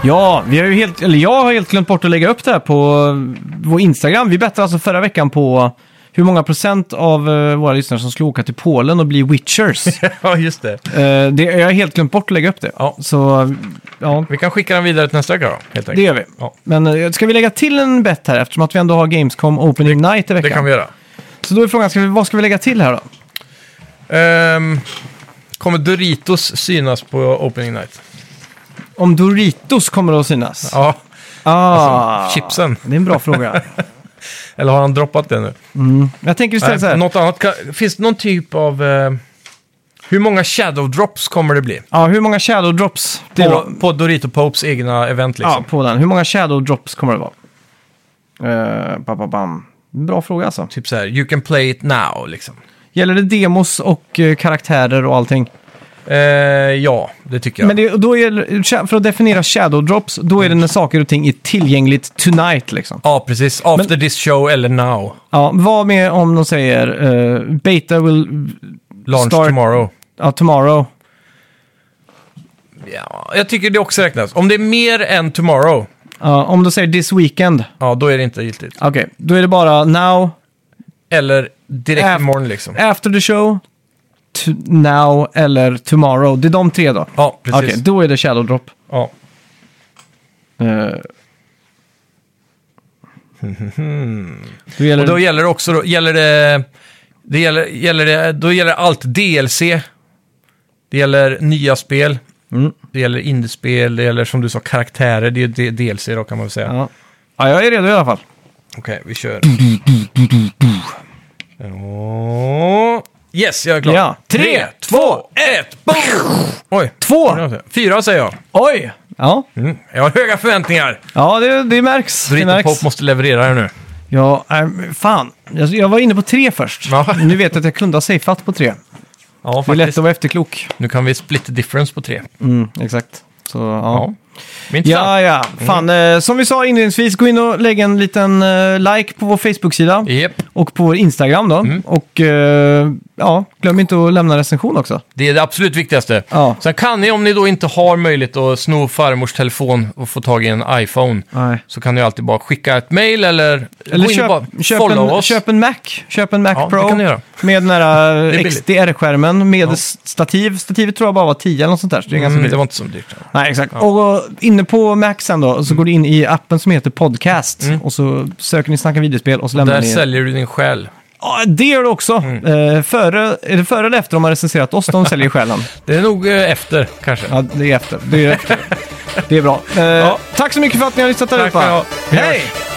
S1: Ja, vi har ju helt, eller jag har helt glömt bort att lägga upp det här på eh, vår Instagram. Vi bettade alltså förra veckan på hur många procent av eh, våra lyssnare som skulle åka till Polen och bli witchers.
S2: ja, just det.
S1: Eh, det, jag har helt glömt bort att lägga upp det.
S2: Ja.
S1: Så, ja,
S2: Vi kan skicka den vidare till nästa vecka då, helt enkelt.
S1: det gör vi.
S2: Ja.
S1: Men eh, ska vi lägga till en bett här eftersom att vi ändå har Gamescom Opening Night i
S2: Det
S1: veckan?
S2: kan vi göra.
S1: Så då är frågan, ska vi, vad ska vi lägga till här då?
S2: Ehm, kommer Doritos synas på Opening Night?
S1: Om Doritos kommer att synas?
S2: Ja, Alltså,
S1: ah,
S2: chipsen.
S1: Det är en bra fråga.
S2: eller har han droppat det nu?
S1: Jag tänker istället så
S2: Nej,
S1: här.
S2: något annat kan, finns det någon typ av... eh, hur många shadow drops kommer det bli?
S1: Ja, hur många shadow drops? Det är bra.
S2: På, på Dorito Popes egna event liksom.
S1: Ja, på den. Hur många shadow drops kommer det vara? Eh, ba, ba, bam. Bra fråga alltså.
S2: Typ så här, you can play it now liksom.
S1: Gäller det demos och eh, karaktärer och allting?
S2: Eh, ja, det tycker jag.
S1: Men det, då gäller, för att definiera shadow drops, då är det när saker och ting är tillgängligt tonight liksom.
S2: Ja, precis. After this show eller now.
S1: Ja, vad med om de säger eh, beta will
S2: Launch
S1: Start-
S2: tomorrow.
S1: ja, tomorrow?
S2: Ja, jag tycker det också räknas. Om det är mer än tomorrow,
S1: Ja, Uh, om de säger this weekend,
S2: ja då är det inte giltigt.
S1: okej, då är det bara now,
S2: Eller direkt
S1: Äh.
S2: imorgon liksom.
S1: after the show, to, now eller tomorrow. Det är de tre då?
S2: Ja,
S1: Okej,
S2: precis.
S1: då är det shadow drop.
S2: Ja.
S1: Eh. Då gäller
S2: Och då
S1: det...
S2: gäller det också, då gäller det, det gäller, gäller det, då gäller allt DLC. Det gäller nya spel.
S1: Mm.
S2: Det gäller indiespel, det gäller som du sa karaktärer, det är ju DLC då kan man väl säga.
S1: ja. ja, jag är redo i alla fall.
S2: Okej, vi kör. Ja. Yes, jag är klar.
S1: Ja.
S2: Tre, två, ett, boom! Oj.
S1: Två!
S2: Fyra säger jag.
S1: Oj! Ja,
S2: Mm. Jag har höga förväntningar.
S1: ja det, det märks. Det
S2: Dorito
S1: märks.
S2: Pop måste leverera här nu.
S1: Ja, nej, men fan. Jag, jag var inne på tre först.
S2: Ja.
S1: Nu vet jag att jag kunde ha safeat på tre.
S2: Ja,
S1: Det är lätt
S2: faktiskt.
S1: att vara efterklok.
S2: Nu kan vi split the difference på tre.
S1: Mm, exakt. Så, ja.
S2: Ja. Men inte sant.
S1: Ja, ja. Fan, eh, som vi sa inledningsvis, gå in och lägg en liten eh, like på vår Facebook-sida
S2: Japp.
S1: och på vår Instagram då. Och eh, ja, glöm inte att lämna recension också.
S2: Det är det absolut viktigaste.
S1: Ja.
S2: Sen kan ni, om ni då inte har möjlighet att sno farmors telefon och få tag i en iPhone,
S1: Nej.
S2: så kan ni alltid bara skicka ett mail eller,
S1: Eller
S2: gå in och bara
S1: köp, köp,
S2: follow
S1: en,
S2: oss.
S1: köp en Mac. Köp en Mac
S2: Ja, det
S1: Pro
S2: kan ni göra.
S1: med den här eh,
S2: Det är billigt.
S1: XDR-skärmen med s- stativ. Stativet tror jag bara var 10 eller något sånt där, så det är ganska
S2: Mm,
S1: billigt.
S2: det var Mm. inte så dyrt.
S1: Nej, exakt. Och eh, inne på Mac sen då, så går du in i appen som heter Podcast och så söker ni Snacka videospel och så lämnar
S2: Mm. Där Mm.
S1: ni...
S2: säljer du din själ.
S1: Ja, det gör det också. Eh, före, är det före eller efter de har recenserat oss? De säljer själen.
S2: Det är nog eh, efter, kanske.
S1: Ja, det är efter. Det är, efter. Det är bra. Eh, Tack så mycket för att ni har lyssnat
S2: Tack
S1: allihopa.
S2: ska ni ha. Vi hörs.
S1: Hej!